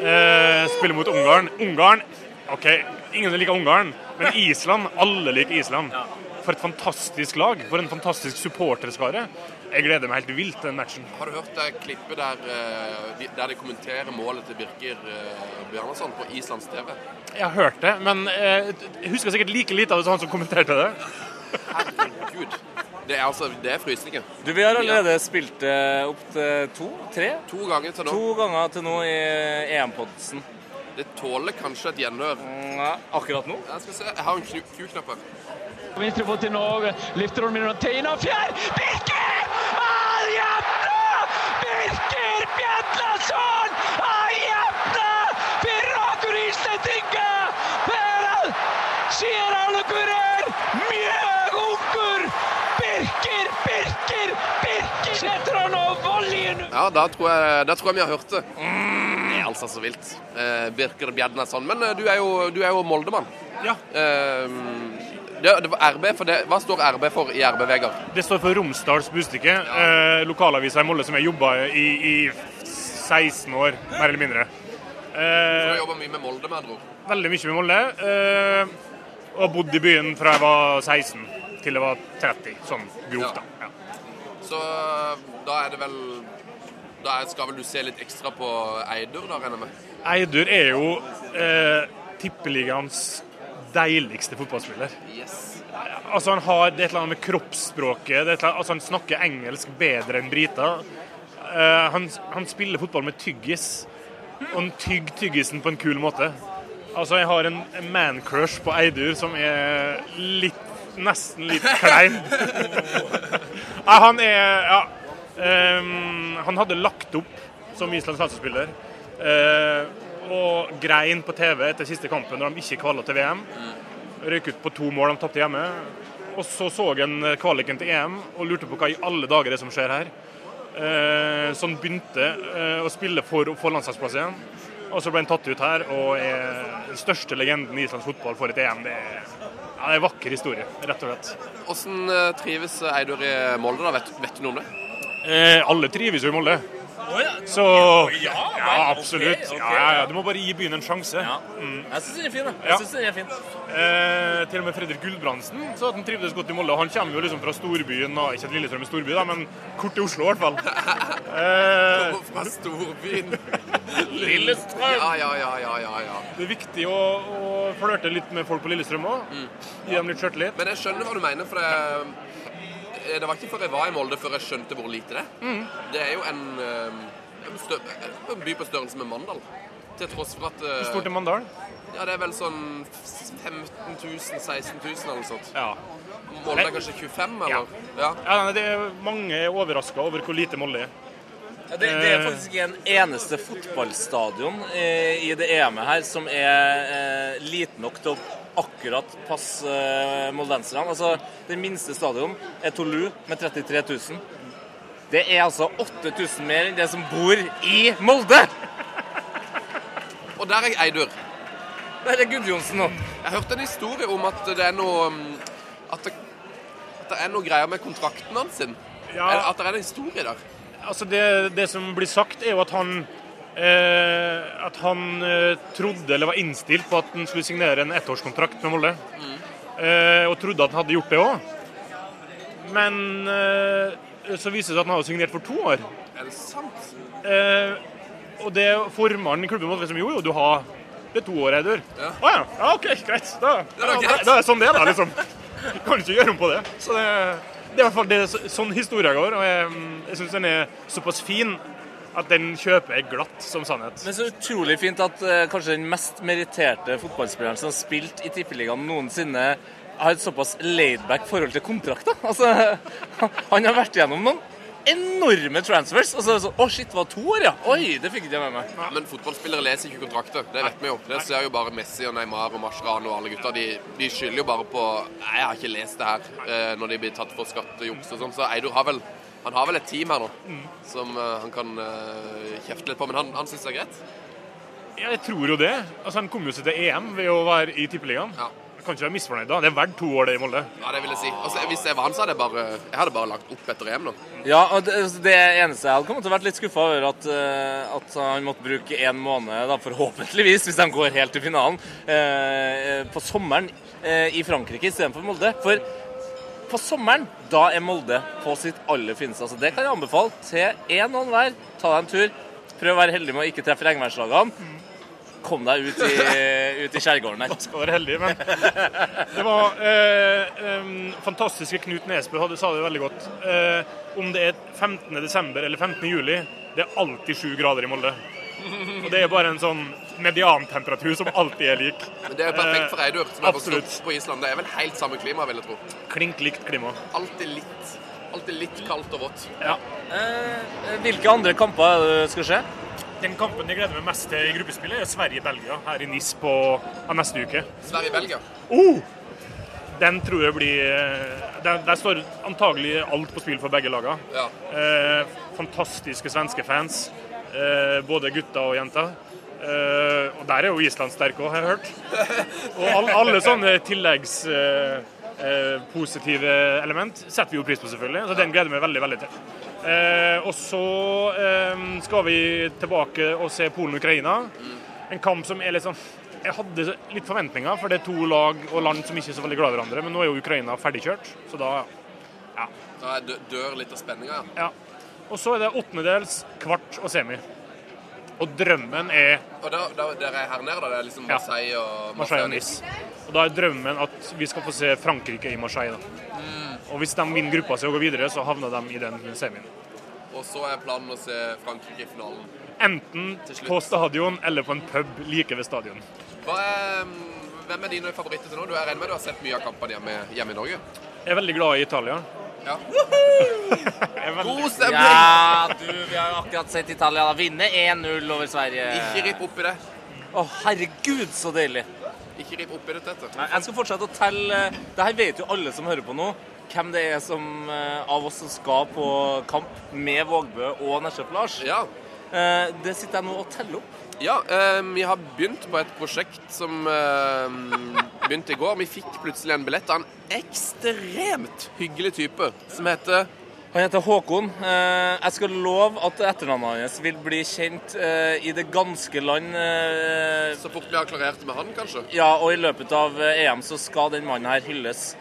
J: eh, spille mot Ungarn. Ungarn OK, ingen liker Ungarn, men Island Alle liker Island. For et fantastisk lag. For en fantastisk supporterskare. Jeg gleder meg helt vilt til den matchen.
D: Har du hørt det klippet der, eh, de- der de kommenterer målet til Birger eh, Bjarnason på Islands TV?
J: Jeg har hørt det, men eh, jeg husker sikkert like lite av det som han som kommenterte det.
D: Herregud. Det er altså Det er frysninger.
B: Du, vi har allerede spilt det opp til to? Tre?
D: To ganger til nå.
B: To ganger til nå i EM-podsen. Mm,
D: Det tåler kanskje et gjenhør.
B: Akkurat nå?
D: Jeg skal se. Jeg har en knu- Q-knapp her.
K: Venstrefot til Norge. Løfter om Rotein og Fjær! Birker! Han jevner! Birker Bjetlason! Han jevner! Ferrakurisen er trygge! Peral! Gerardo Curer! Mjøgunker! Birker, Birker, Birker setter han og volleyer
D: Ja, da tror, jeg, da tror jeg vi har hørt det. Det er altså så vilt. Eh, Birker Bjernason. Men eh, du er jo, du er jo Moldemann.
J: Ja.
D: Eh, det, det var RB for det. Hva står RB for i RB, Vegard?
J: Det står for Romsdals Budstikke, eh, lokalavisa i Molde som jeg jobba i i 16 år, mer eller mindre.
D: Du
J: Eh,
D: jobber mye med Molde, med andre ord.
J: veldig mye med Molde. Eh, og har bodd i byen fra jeg var 16 til jeg var 30, sånn grovt, da. Ja.
D: Så da er det vel Da er- skal vel du se litt ekstra på Eidur, da, regner jeg med?
J: Eidur er jo eh, tippeligaens deiligste fotballspiller.
D: Yes.
J: Altså Han har det er et eller annet med kroppsspråket. Det er et eller annet, altså Han snakker engelsk bedre enn briter. Eh, han, han spiller fotball med tyggis, og han tygger tyggisen på en kul måte. Altså Jeg har en man-crush på Eidur som er litt Nesten litt klein. Nei, han er Ja. Ehm, han hadde lagt opp som Islands landslagsspiller. eh, og grein på TV etter siste kampen når de ikke kvala til VM. Røyk ut på to mål de tapte hjemme. Og så så han eh, kvaliken til EM og lurte på hva i alle dager det er som skjer her. Eh, så han begynte eh, å spille for å få landslagsplass igjen. Og så ble han tatt ut her og er den største legenden i islandsk fotball for et EM. Det er, ja, det er en vakker historie, rett og slett.
D: Hvordan eh, trives Eidur i Molde, da? Vet, vet du noe om det?
J: Eh, alle trives jo i Molde. Så
D: Ja,
J: Ja,
D: vel,
J: absolutt.
D: ok, ok,
J: Ja, ja, ja. Du må bare gi byen en sjanse. Mm.
B: Jeg syns den er fin. da.
J: Ja.
B: Jeg synes den er fin.
J: Eh, til og med Fredrik Gulbrandsen sa at han trivdes godt i Molde. og Han kommer jo liksom fra storbyen, og ikke at Lillestrøm er storby, da, men kort til Oslo i hvert fall. Eh,
D: Fra storbyen.
J: Lillestrøm.
D: Ja, ja, ja, ja, ja, ja.
J: det er viktig å, å flørte litt med folk på Lillestrøm òg. Gi dem litt sjøltillit.
D: Mm. Men jeg skjønner hva du mener, for det, eh, det var ikke før jeg var i Molde før jeg skjønte hvor lite det er.
J: Mm.
D: Det er jo en, eh, en, stø, en by på størrelse med Mandal. Til tross for at eh,
J: Hvor stort er Mandal?
D: Ja, det er vel sånn 15 000-16 000 eller noe sånt.
J: Ja.
D: Molde er kanskje 25, eller? Ja.
J: Ja, nei, det er, mange er overraska over hvor lite Molde er.
B: Ja, Det, det er faktisk ikke en eneste fotballstadion eh, i det EM-et her som er eh, liten nok til å akkurat passe eh, moldenserne. Altså, den minste stadion er Tolu med 33 000. Det er altså 8000 mer enn det som bor i Molde!
D: Og der er Eidur.
B: Der er Gudjonsen nå.
D: Jeg hørte en historie om at det er noe mm, At det, at det er noe greier med kontrakten hans sin. Er- At det er en historie der.
J: Altså det, det som blir sagt, er jo at han eh, At han eh, trodde, eller var innstilt på, at han skulle signere en ettårskontrakt med Molde. Eh, og trodde at han hadde gjort det òg. Men eh, så viser det seg at han har jo signert for to år.
D: Er det sant?
J: Eh, og det formannen i klubben måtte liksom Jo, jo, du har det er to år, Eidur. Å ja. ja. OK, greit. Da,
D: da
J: ja,
D: greit.
J: da, da er det sånn det er, da, liksom. Kan ikke gjøre om på det. Så det, det er i hvert fall det, er så- sånn historien går. Og jeg, mm, jeg syns den er såpass fin at den kjøper jeg glatt som sannhet.
B: Men så utrolig fint at eh, kanskje den mest meritterte fotballspilleren som har spilt i Tippeligaen noensinne, har et såpass laidback forhold til kontrakter. Altså, han har vært gjennom noen enorme transfers. Og så er det sånn Å, shit, det var to år, ja? Oi, det fikk ikke jeg med meg.
D: Ja, Men fotballspillere leser ikke kontrakter. Det vet vi jo. Det ser jo bare Messi og Neymar og Mascherano og alle gutta. De, de skylder jo bare på Nei, jeg har ikke lest det her eh, når de blir tatt for skattejuks og sånn. Så Eidur har vel han har vel et team her nå som eh, han kan eh, kjefte litt på, men han, han syns det er greit.
J: Ja, jeg tror jo det. Altså, Han kom jo seg til EM ved å være i Tippeligaen.
D: Ja.
J: Jeg Kan ikke være misfornøyd da. Det er verdt to år, det i Molde.
D: Ja, det vil jeg si. Altså, hvis jeg var han, så hadde jeg bare, jeg hadde bare lagt opp etter EM nå.
B: Ja, og det, altså, det eneste jeg hadde kommet til å vært litt skuffa over, at, eh, at han måtte bruke en måned, da, forhåpentligvis, hvis de går helt til finalen, eh, eh, på sommeren eh, i Frankrike istedenfor Molde. For på sommeren, da er Molde på sitt aller fineste. Altså, det kan jeg anbefale til én og enhver. Ta deg en tur. Prøv å være heldig med å ikke treffe regnværslagene. Kom deg ut i, ut i skjærgården her.
J: skal være heldig, men det var eh, em, fantastiske Knut Nesbø hadde, sa det veldig godt. Eh, om det er 15. desember eller 15. juli, det er alltid sju grader i Molde. Og det er bare en sånn mediantemperatur som alltid er lik.
D: Men det er jo perfekt for Eidur, som har vokst
J: Absolutt.
D: opp på Island. Det er vel helt samme klima, vil jeg tro.
J: Klink likt klima.
D: Alltid litt, alltid litt kaldt og vått.
J: Ja.
B: Eh, hvilke andre kamper er det du skal se?
J: Den kampen jeg gleder meg mest til i gruppespillet, er Sverige-Belgia her i NIS på ja, neste uke.
D: Sverige-Belgia.
J: Oh! Den tror eh, jeg blir Der, der står antagelig alt på spill for begge lagene.
D: Ja.
J: Eh, fantastiske svenske fans. Eh, både gutter og jenter. Eh, og der er jo Island sterk òg, har jeg hørt. Og alle, alle sånne tilleggspositive eh, eh, positive element setter vi jo pris på, selvfølgelig. Så den gleder jeg meg veldig, veldig til. Eh, og så eh, skal vi tilbake og se Polen-Ukraina. En kamp som er litt sånn Jeg hadde litt forventninger, for det er to lag og land som ikke er så veldig glad i hverandre. Men nå er jo Ukraina ferdigkjørt, så da
I: Da er dø- dør litt av spenninga, ja.
J: Ja. Og så er det åttendedels, kvart og semi. Og drømmen er
I: Og da, da, der er her nede, da. Det er liksom
J: Ja.
I: Marseille og
J: Marseille og Nice. Og da er drømmen at vi skal få se Frankrike i Marseille. da.
I: Mm.
J: Og hvis de vinner gruppa si og går videre, så havner de i den semien.
I: Og så er planen å se Frankrike i finalen.
J: Enten på stadion eller på en pub like ved stadion.
I: Hva er, hvem er dine favoritter til nå? Du er regner med du har sett mye av kampene hjemme, hjemme i Norge?
J: Jeg er veldig glad i Italia.
I: Ja.
J: God
B: Ja, du, vi har jo akkurat sett Italia da vinne 1-0 over Sverige.
I: Ikke ripp opp i det.
B: Å, herregud, så deilig.
I: Ikke ripp opp i det tette.
B: Nei, Jeg skal fortsette å telle Det her vet jo alle som hører på nå, hvem det er som, eh, av oss som skal på kamp med Vågbø og Nesjef Lars.
I: Ja.
B: Eh, Det sitter jeg nå og teller opp.
I: Ja, eh,
D: um,
I: vi har begynt på et prosjekt som eh, begynte i går. Vi fikk plutselig en billett av en ekstremt hyggelig type som heter
B: Han heter Håkon. Eh, Jeg skal love at etternavnet hans vil bli kjent eh, i det ganske land. eh,
I: Så fort vi har klarert med han, kanskje?
B: Ja, og i løpet av eh, EM så skal den mannen her hylles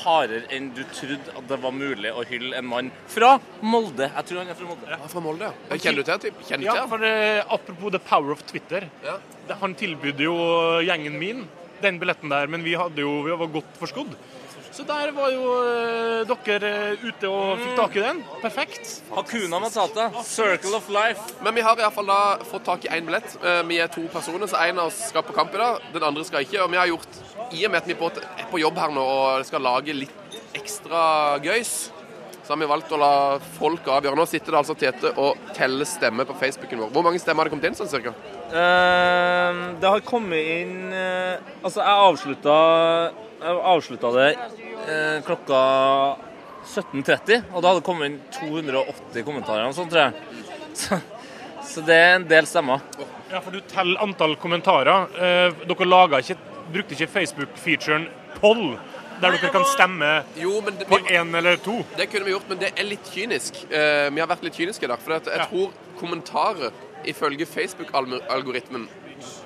B: hardere enn du trodde at det var mulig å hylle en mann fra Molde. Jeg tror han er fra Molde.
I: Han er fra Molde, ja. Kjenner du til han, typ? Kjenner du
J: Ja,
I: til han?
J: for eh, Apropos the power of Twitter.
I: Ja.
J: Det- Han tilbydde jo gjengen min den billetten der, men vi, hadde jo, vi var godt forskodd. Så der var jo eh, dere eh, ute og fikk tak i den. Perfekt.
B: Hakuna Matata. Circle of life.
I: Men vi har i hvert fall da fått tak i én billett. Eh, Vi er to personer, så en av oss skal på kamp i dag. Den andre skal ikke. Og vi har gjort, i og med at vi på en måte er på jobb her nå og skal lage litt ekstra gøys, så har vi valgt å la folk avgjøre. Nå sitter det altså Tete og teller stemmer på Facebooken vår. Hvor mange stemmer har det kommet inn sånn cirka?
B: Ehm, det har kommet inn Altså, jeg avslutta, det eh, klokka 17.30, og da hadde det kommet inn 280 kommentarer og sånn, tror jeg. Så, det er en del stemmer.
J: Ja, for du teller antall kommentarer. Eh, dere laget ikke, brukte ikke Facebook-featuren poll, der dere kan stemme
I: Jo, men det,
J: på én eller to.
I: det kunne vi gjort, men det er litt kynisk. Eh, Vi har vært litt kyniske i dag. For at jeg
J: Ja.
I: tror kommentarer, ifølge Facebook-algoritmen,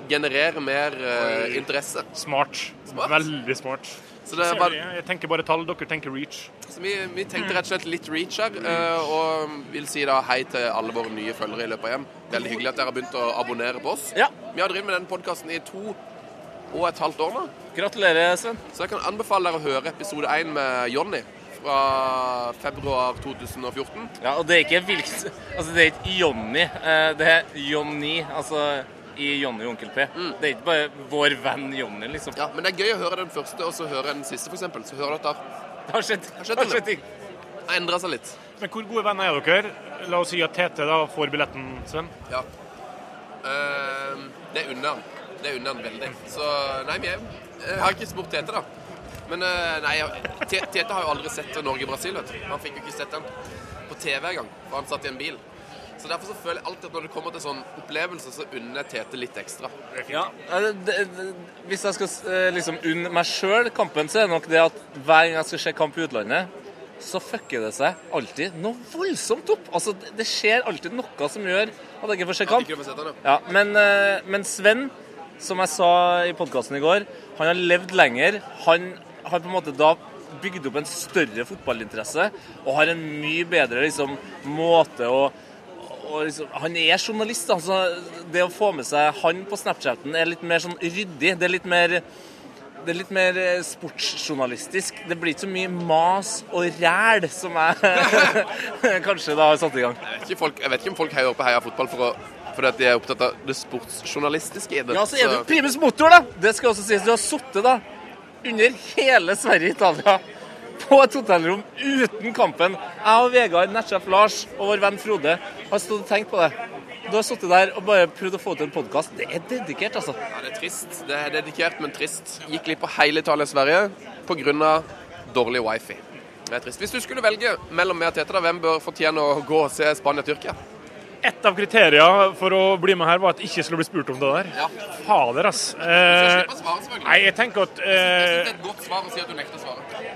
I: genererer mer eh, interesse.
J: Smart.
I: Smart.
J: Veldig smart.
I: Så det er
J: Ser
I: bare
J: du, Jeg tenker bare tall, dere tenker reach.
I: Så vi, vi tenkte rett og slett litt reach her, eh, og vil si da hei til alle våre nye følgere i løpet av hjem. Veldig hyggelig at dere har begynt å abonnere på oss.
B: Ja.
I: Vi har drevet med den podkasten i to og et halvt år nå,
B: Gratulerer, Sven.
I: så jeg kan anbefale dere å høre episode én med Jonny fra februar 2014.
B: Ja, og det er ikke hvilket Altså, det er ikke Jonny. eh, Det er Jonny, altså i Jonny og Onkel P. Det er ikke bare vår venn Jonny, liksom.
I: Mm. Ja, Men det er gøy å høre den første og så høre den siste, f.eks. Så hører dere at
B: Det har skjedd,
I: skjedd
B: har skjedd
I: noe.
B: ting.
I: det har endra seg litt.
J: Men hvor gode venner er dere? La oss si at Tete da får billetten, Sven.
I: Ja. Eh, det er unna han. Det er unna han veldig. Så nei, vi er Jeg har ikke spurt Tete, da. Men eh, nei, jeg- Te- Tete har jo aldri sett Norge-Brasil, vet du. Han fikk jo ikke sett den på TV engang, for han satt i en bil. Så derfor så føler jeg alltid at når det kommer til sånn opplevelse, så unner jeg Tete litt ekstra.
B: Ja, eh, det, det, hvis jeg skal eh, liksom unne meg sjøl kampen, så er det nok det at hver gang jeg skal se kamp i utlandet, så fucker det seg alltid noe voldsomt opp. Altså, det, det skjer alltid noe som gjør at jeg ikke får se
I: At
B: kamp.
I: ikke du får sett den, ja.
B: Ja, men, eh, men Sven, som jeg sa i podkasten i går, han har levd lenger. Han har på en måte da bygd opp en større fotballinteresse og har en mye bedre liksom, måte å og liksom, han er journalist, da, så det å få med seg han på Snapchaten er litt mer sånn ryddig. Det er litt mer, det er litt mer eh, sportsjournalistisk. Det blir ikke så mye mas og ræl som jeg kanskje da har satt i gang.
I: Jeg vet ikke, folk, jeg vet ikke om folk heier på Heia Fotball for å, fordi at de er opptatt av det sportsjournalistiske i det.
B: Ja, så er det jo primus motor, da. Det skal også sies. Du har sittet da under hele Sverige-Italia på et hotellrom uten kampen. Jeg og Vegard, nettsjef Lars og vår venn Frode har stått og tenkt på det. Du har sittet der og bare prøvd å få til en podkast. Det er dedikert, altså.
I: Ja, det er trist. Det er dedikert, men trist. Gikk glipp av hele Italia og Sverige pga. dårlig wifi. Eh,
D: Det er trist. Hvis du skulle velge mellom meg og Tete, da, hvem bør fortjene å gå og se Spania-Tyrkia?
J: Et av kriteriene for å bli med her var at jeg ikke skulle bli spurt om det der.
D: Ja.
J: Fader, ass.
D: Så
J: Eh,
D: jeg slipper å svare, selvfølgelig.
J: nei, jeg tenker at
D: Jeg
J: eh,
D: synes det er et godt svar å si at du nekter å svare.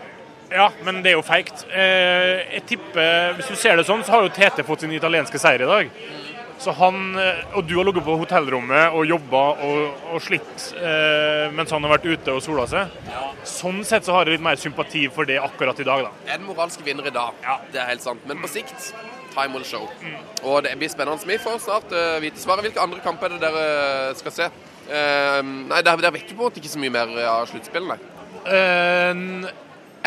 J: Ja, men det er jo feigt. Eh, jeg tipper, Hvis du ser det sånn, så har jo Tete fått sin italienske seier i dag. Så han, eh, Og du har ligget på hotellrommet og jobba og, og slitt eh, mens han har vært ute og sola seg. Sånn sett så har jeg litt mer sympati for det akkurat i dag, da.
D: En moralsk vinner i dag,
J: Ja. Mm.
D: det er helt sant. Men på sikt time will show. Og det blir spennende. Vi får snart eh, vite svaret. Hvilke andre kamper er det dere skal se? Eh, nei, det er, det er vekk på en måte ikke så mye mer av sluttspillene.
J: Eh,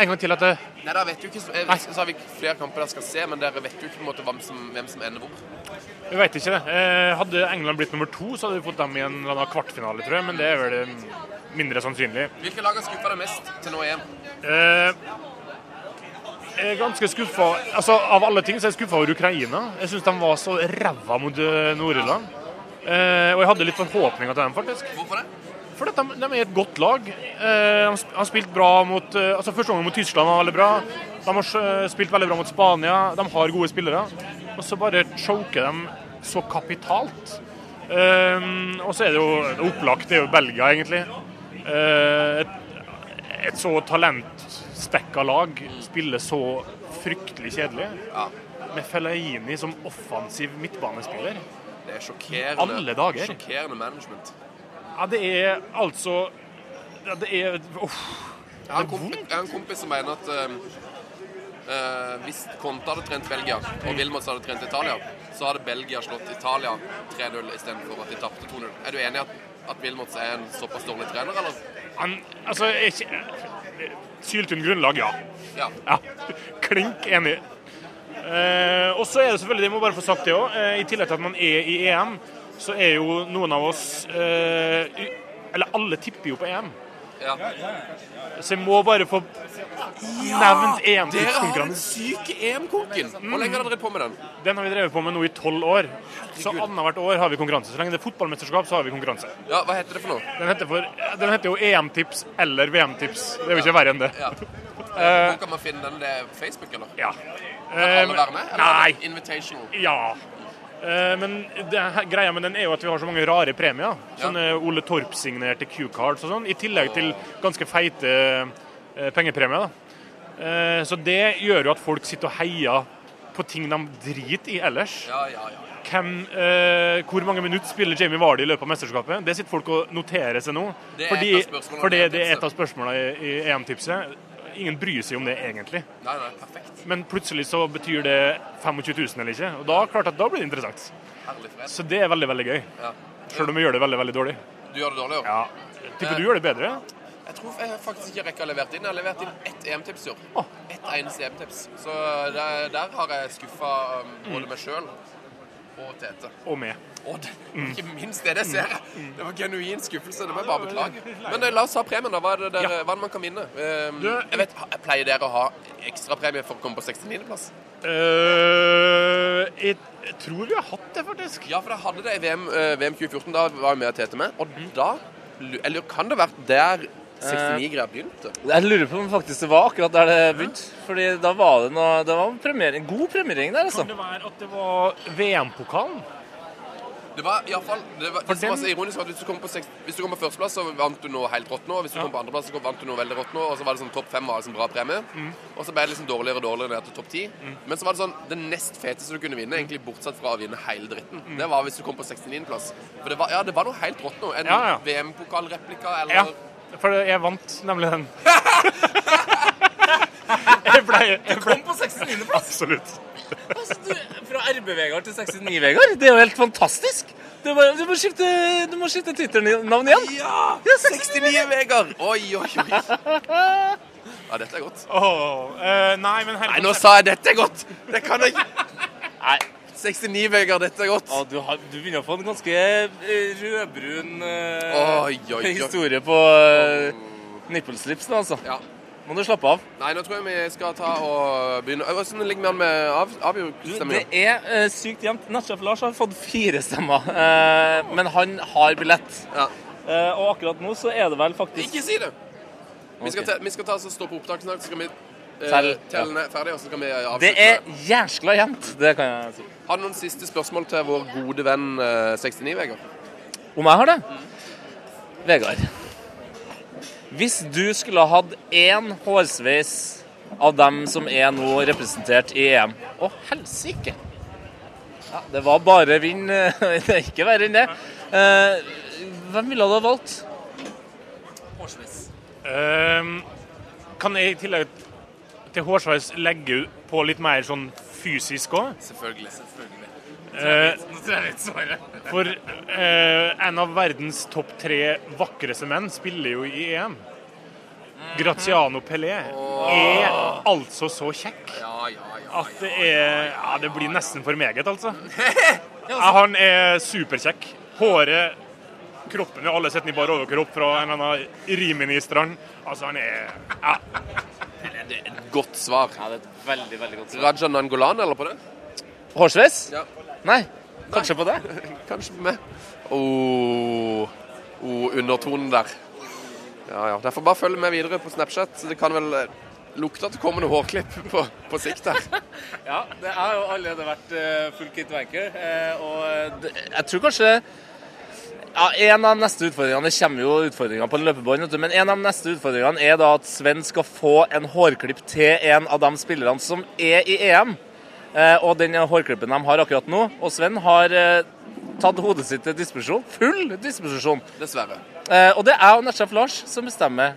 J: en gang til at det
D: Nei, da vet jo ikke så, jeg, så har vi flere kamper dere skal se, men dere vet jo ikke på en måte hvem som, hvem som ender hvor.
J: Jeg vet ikke det. Eh, hadde England blitt nummer to, så hadde vi fått dem i en eller annen kvartfinale, tror jeg. Men det er vel eh, mindre sannsynlig.
D: Hvilke lag har skuffa deg mest til nå i EM?
J: Eh, jeg er ganske skuffa altså, Av alle ting så er jeg skuffa over Ukraina. Jeg syns de var så ræva mot eh, Nord-Irland. Eh, og jeg hadde litt forhåpninger til dem, faktisk.
D: Hvorfor det?
J: For de, de er et godt lag. Eh, de sp- har spilt bra mot eh, altså Første gangen mot Tyskland var veldig bra. De har eh, spilt veldig bra mot Spania. De har gode spillere. Og så bare choker de så kapitalt. Eh, og så er det jo det er opplagt, det er jo Belgia, egentlig. Eh, et, et så talentspekka lag spiller så fryktelig kjedelig. Med Fellaini som offensiv midtbanespiller.
D: Det er sjokkerende.
J: Alle dager.
D: Sjokkerende management.
J: Ja, det er altså ja, Det er uff.
D: Jeg har en kompis, jeg har en kompis som mener at eh, eh, hvis Conte hadde trent Belgia, og Wilmots hadde trent Italia, så hadde Belgia slått Italia 3-0 istedenfor at de tapte 2-0. Er du enig i at, at Wilmots er en såpass dårlig trener, eller?
J: Han, altså, jeg, Syltun grunnlag, ja.
D: Ja.
J: ja. Klink enig. Eh, og så er det selvfølgelig, jeg må bare få sagt det òg, eh, i tillegg til at man er i EM, så er jo noen av oss eh, y- Eller alle tipper jo på EM.
D: Ja.
J: Så jeg må bare få nevnt
D: Dere har den
J: EM-tippskonkurransen.
D: syke EM-konken! Hvor lenge har dere drevet på med den?
J: Den har vi drevet på med nå i tolv år. Så annethvert år har vi konkurranse. Så lenge det er fotballmesterskap, så har vi konkurranse.
D: Ja, Hva heter det for noe?
J: Den heter, for, den heter jo EM-tips eller VM-tips. Det er jo ikke verre enn det.
D: Ja. Hvor kan man finne den? Det er Facebook, eller?
J: Ja. Ehm,
D: Kan alle være med? Eller er det
J: nei.
D: Invitational.
J: Ja. Eh, Men det, her- greia med den er jo at vi har så mange rare premier. Sånne Ole Torp-signerte Q-cards og sånn. I tillegg til ganske feite eh, pengepremier. da. Eh, Så det gjør jo at folk sitter og heier på ting de driter i ellers.
D: Ja, ja, ja.
J: Hvem, eh, hvor mange minutter spiller Jamie Vardy i løpet av mesterskapet? Det sitter folk og noterer seg nå.
D: Det er
J: fordi,
D: et av spørsmålene
J: for det,
D: i
J: det er et
D: EM-tipset.
J: av spørsmålene i, i EM-tipset. Ingen bryr seg om det egentlig.
D: Nei, nei, perfekt.
J: Men plutselig så betyr det 25 000 eller ikke. Og da, klart at da blir det interessant.
D: Herlig fred.
J: Så det er veldig, veldig gøy.
D: Ja.
J: Selv om vi gjør det veldig, veldig dårlig.
D: Du gjør det dårlig, jo.
J: Ja. Tipper du gjør det bedre?
D: Jeg tror jeg faktisk ikke rekker å ha levert inn. Jeg har levert inn ett EM-tips i år.
J: Å.
D: Ett eneste EM-tips. Så der, der har jeg skuffa um,
J: Mm.
D: både meg sjøl og Tete.
J: Og med.
D: Og det, ikke minst det, det ser jeg! Det var genuin skuffelse. Det må jeg bare beklage. Men eh, la oss ha premien, da. Hva er det, dere- hva er det man kan vinne? Um,
J: Du-
D: jeg vet, ha- Pleier dere å ha ekstrapremie for å komme på 69.-plass?
J: Eh, jeg jeg tror vi har hatt det, faktisk.
D: Ja, for jeg hadde det i VM, eh, VM 2014. Da var jeg med og Tete med. Og da lu- Jeg lurer, kan det ha vært der 69-greia begynte?
B: Jeg lurer på om faktisk det var akkurat der det begynte. Fordi da var det noe Det var premiering, god premiering der, altså.
J: Kan det være at det var VM-pokalen?
D: Det var i alle fall, det var, det som var så
J: den-
D: ironisk var at hvis du kom på, seks, hvis du kom på førsteplass, så vant du noe helt rått nå. og Hvis du kom på andreplass, så vant du noe veldig rått nå. Og så var det sånn topp fem var liksom bra premie.
J: Mm.
D: Og så ble det liksom dårligere og dårligere ned til topp ti. Men så var det sånn det nest feteste du kunne vinne, egentlig bortsett fra å vinne hele dritten,
J: Mm.
D: det var hvis du kom på 69.-plass. For det var, ja, det var noe helt rått nå. En
J: Ja, ja.
D: VM-pokalreplika eller
J: Ja. For jeg vant nemlig den. jeg ble, jeg ble
B: Kom på 69.-plass!
J: Absolutt.
B: Fra RB-Vegard til 69-Vegard. Det er jo helt fantastisk! Du, bare, du må skifte, du må skifte Twitter-navn igjen.
D: Ja!
B: Ja,
D: 69, Vegard! Oi, oi, oi. Ja, dette er godt.
J: Åh, eh, nei, men
D: Nei,
J: herregud.
D: nå sa jeg 'dette er godt'! Det kan jeg ikke.
B: Nei.
D: 69, Vegard, dette er godt.
B: Ja, du, har, du begynner å få en ganske eh, rødbrun eh,
D: Oi, oi, oi.
B: historie på eh, nippelslipsen, altså.
D: Ja.
B: Må du slappe av.
D: Nei, nå tror jeg vi skal ta og begynne Øy, Hvordan ligger vi an med av, avgjørelsesstemminga?
B: Det er eh, sykt jevnt. Nattsjef Lars har fått fire stemmer, eh, men han har billett.
D: Ja.
B: Eh, og akkurat nå så er det vel faktisk
D: Ikke si det! Vi skal,
B: Ok.
D: ta, vi skal ta oss og stå på opptak snart, så skal vi
B: Tell.
I: Tellen eh, er ferdig, og så kan vi eh, avslutte.
B: Det er jæskla jevnt, det kan jeg si.
I: Har du noen siste spørsmål til vår gode venn eh, 69, Vegard?
B: Om jeg har det? Vegard. Hvis du skulle ha hatt én hårsveis av dem som er nå representert i EM Å, helsike! Ja, det var bare vind. eh, Det er ikke verre enn det. Eh, hvem ville du ha valgt? Hårsveis.
J: Ehm, kan jeg i tillegg til hårsveis legge på litt mer sånn fysisk òg?
I: Selvfølgelig.
J: For eh, en av verdens topp tre vakreste menn spiller jo i EM. Graziano Pelé er altså så kjekk at det er Ja, det blir nesten for meget, altså. Ja, han er superkjekk. Håret, kroppen ja, Alle setter den i bar overkropp fra en eller annen Rimini-strand. Altså, han er ja,
I: Godt svar.
B: Ja, det er et veldig, veldig godt svar.
I: Raja Nangolan, eller på det?
B: Hårsveis?
I: Ja.
B: Nei. Kanskje på det?
I: Kanskje på meg. Oh, oh, undertonen der. Ja, ja. Derfor bare følg med videre på Snapchat. Det kan vel eh, lukte at det kommer noe hårklipp på, på sikt der.
B: Ja, det har jo allerede vært eh, full kit wanker. eh, og det, jeg tror kanskje ja, En av de neste utfordringene Det kommer jo utfordringer på løpebånd, vet du, men en av de neste utfordringene er da at Sven skal få en hårklipp til en av de spillerne som er i EM. Eh, og den hårklippen de har akkurat nå. Og Sven har eh, tatt hodet sitt til disposisjon. Full disposisjon.
I: Dessverre.
B: Eh, og det er jeg og nettsjef Lars som bestemmer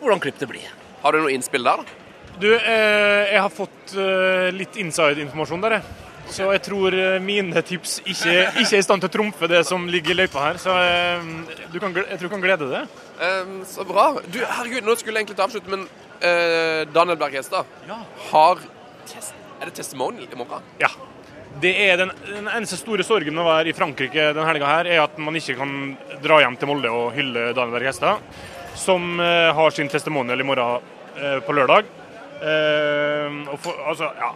B: hvordan klipp det blir.
I: Har du noe innspill der, da?
J: Du, eh, jeg har fått eh, litt inside-informasjon der, jeg. Så jeg tror eh, mine tips ikke, ikke er i stand til å trumfe det som ligger i løypa her. Så eh, du kan, gle- jeg tror du kan glede deg.
I: Ehm, så bra. Du, herregud, nå skulle jeg egentlig til å avslutte, men eh, Daniel Berg Hestad har test... Er det testimonial i morgen?
J: Ja. Det er den, den eneste store sorgen med å være i Frankrike den helga her, er at man ikke kan dra hjem til Molde og hylle Daniel Berg Hestad, som eh, har sin testimonial i morgen eh, på lørdag. Eh, og for, altså, ja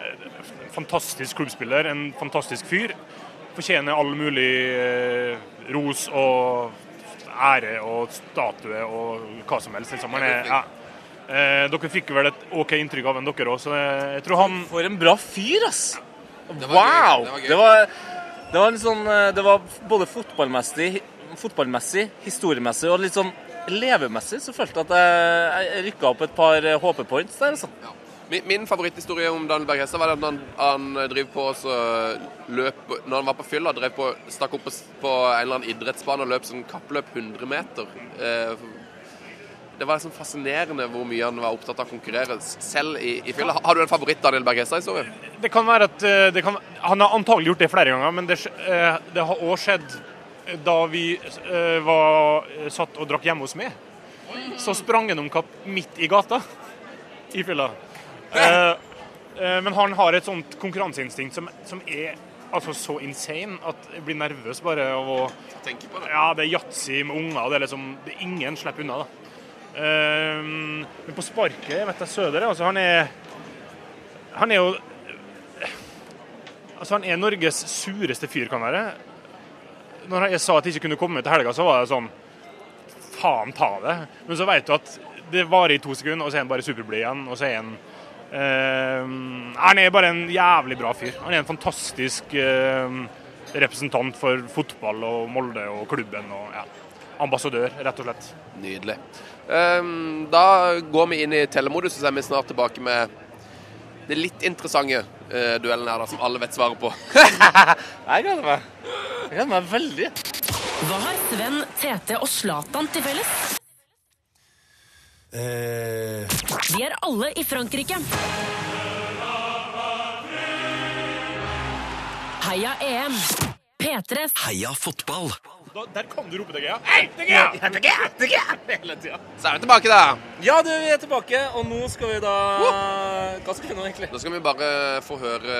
J: eh, Fantastisk klubbspiller, en fantastisk fyr. Fortjener all mulig eh, ros og ære og statue og hva som helst. Liksom. Han er, ja. eh, dere fikk vel et OK inntrykk av en dere òg, så jeg, jeg tror han
B: For en bra fyr, ass!
I: var
B: wow!
I: gøy, det var gøy.
B: Det var, det var en sånn eh, Det var både fotballmessig, fotballmessig historiemessig og litt sånn levemessig, så følte jeg at jeg, jeg rykka opp et par eh, HP-points der, altså.
I: Min, min favoritthistorie om Daniel Berg Hestad var at han, han driver på og så løp Når han var på fylla, drev på, stakk opp på, s- på en eller annen idrettsbane og løp sånn kappløp 100 meter. Eh, Det var sånn fascinerende hvor mye han var opptatt av å konkurrere s- selv i, i fylla. Har du en favoritt Daniel Berg Hestad-historie?
J: Det kan være at eh, det kan, Han har antagelig gjort det flere ganger, men det, skj- eh, det har òg skjedd da vi eh, var satt og drakk hjemme hos meg. Så sprang han om kapp midt i gata i fylla. Eh, eh, men han har et sånt konkurranseinstinkt som, som er altså så insane at jeg blir nervøs bare av å
I: Tenker på det.
J: Ja, det er yatzy med unger, og det er liksom det er Ingen slipper unna, da. Eh, men på sparket jeg vet jeg Søder altså, han er Han er jo Altså, han er Norges sureste fyr, kan være. Når jeg sa at jeg ikke kunne komme til helga, så var det sånn Faen ta det. Men så veit du at det varer i to sekunder, og så er han bare superblid igjen. Og så er han eh, Han er bare en jævlig bra fyr. Han er en fantastisk eh, representant for fotball og Molde og klubben og ja, ambassadør, rett og slett.
I: Nydelig. Ehm, da går vi inn i telemodus, og så er vi snart tilbake med det litt interessante eh, duellen her, da, som alle vet svaret på.
B: Jeg gleder meg. Jeg gleder meg veldig.
G: Hva har Sven, Tete og Zlatan til felles? De er alle i Frankrike. Heia EM. P3s
A: Heia fotball.
J: der kan du rope deg, ja. Hei, deg, ja!
B: Hele tida.
I: Så er vi tilbake, da.
B: Ja, du, vi er tilbake, og nå skal vi da Hva skal vi nå, egentlig?
I: Nå skal vi bare få høre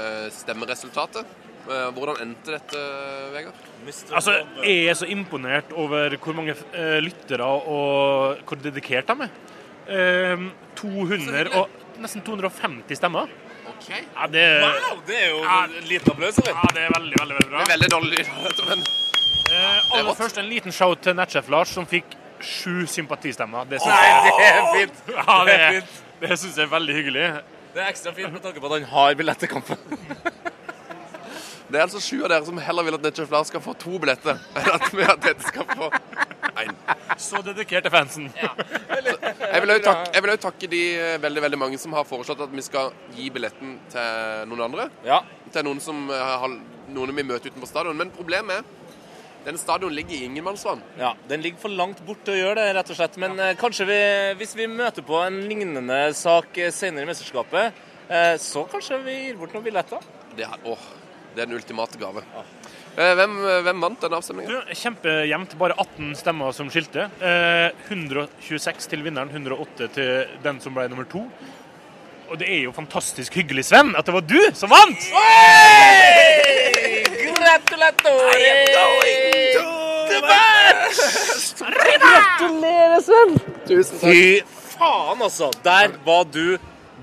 I: eh, stemmeresultatet. Eh, Hvordan endte dette, Vegard?
J: Altså, jeg er så imponert over hvor mange eh, lyttere og hvor dedikert de er. Eh, 200 og nesten 250 stemmer.
I: Ok.
J: Ja, det, ja,
B: det er jo en liten applaus, eller?
J: det er veldig, veldig, veldig bra.
I: Veldig dårlig lyd, dette, men
J: Eh, aller først en liten shout til nettsjef Lars, som fikk sju sympatistemmer. Det synes
B: Nei, det er fint.
J: jeg- ja, det,
B: det er fint.
J: Det syns jeg er veldig hyggelig.
B: Det er ekstra fint med tanke på at han har billett til kampen.
I: Det er altså sju av dere som heller vil at Netcher Flair skal få to billetter, enn at vi at dette skal få én.
J: Så dedikert er fansen.
I: Jeg vil også takke, jeg vil også takke de eh, veldig veldig mange som har foreslått at vi skal gi billetten til noen andre.
B: Ja.
I: Til noen som eh, har, noen vi møter utenfor stadion. Men problemet er denne stadion ligger i ingenmannsland.
B: Ja, Den ligger for langt bort til å gjøre det, rett og slett. Men eh, kanskje vi, hvis vi møter på en lignende sak eh, senere i mesterskapet, eh, så kanskje vi gir bort noen billetter.
I: Det, er- åh, det er den ultimate gave. Eh, Hvem, hvem vant den avstemningen?
J: Du, Kjempejevnt. Bare 18 stemmer som skilte. Eh, 126 til vinneren, 108 til den som ble nummer to. Og det er jo fantastisk hyggelig, Sven, at det var du som vant!
I: Tusen takk.
B: Fy faen, altså! Der var du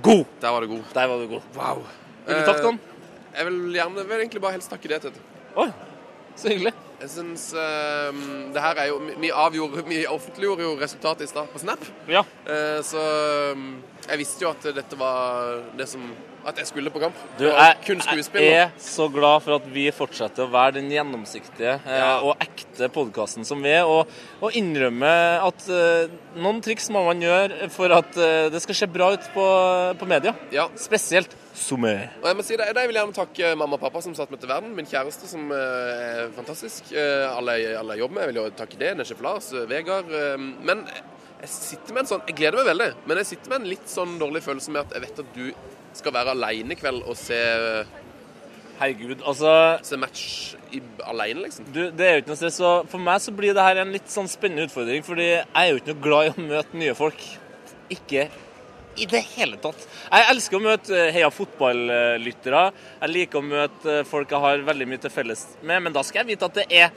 B: god!
I: Der var det god.
B: Der var du god.
I: Wow.
B: Vil du takke noen?
I: Jeg vil gjerne vil egentlig bare helst takke deg, Tete.
B: Oi, så hyggelig.
I: Jeg syns ehm, det her er jo Vi avgjorde Vi offentliggjorde jo resultatet i stad på Snap.
J: Ja.
I: Eh, så ehm, jeg visste jo at dette var Eh, det som At jeg skulle på kamp.
B: Du,
I: Og kun
B: jeg,
I: skuespill.
B: jeg er så glad for at vi fortsetter å være den gjennomsiktige eh,
I: Ja.
B: og ekte podkasten som vi er, og, og innrømme at eh, noen triks må man gjøre for at eh, det skal se bra ut på, på media.
I: Ja.
B: Spesielt Sommer.
I: Og jeg må si det, jeg vil gjerne takke mamma og pappa som satte meg til verden. Min kjæreste som eh, er fantastisk. eh, alle, jeg- alle jeg jobber med. Jeg vil jo takke det. Nesje Flas, eh, Vegard. eh, men jeg sitter med en sånn Jeg gleder meg veldig, men jeg sitter med en litt sånn dårlig følelse med at jeg vet at du skal være aleine i kveld og se,
B: Herregud, altså
I: se match i- aleine, liksom.
B: Du, det er jo ikke noe stress. Og for meg så blir det her en litt sånn spennende utfordring, fordi jeg er jo ikke noe glad i å møte nye folk. Ikke i det hele tatt. Jeg elsker å møte eh, heia fotballyttere. Jeg liker å møte eh, folk jeg har veldig mye til felles med, men da skal jeg vite at det er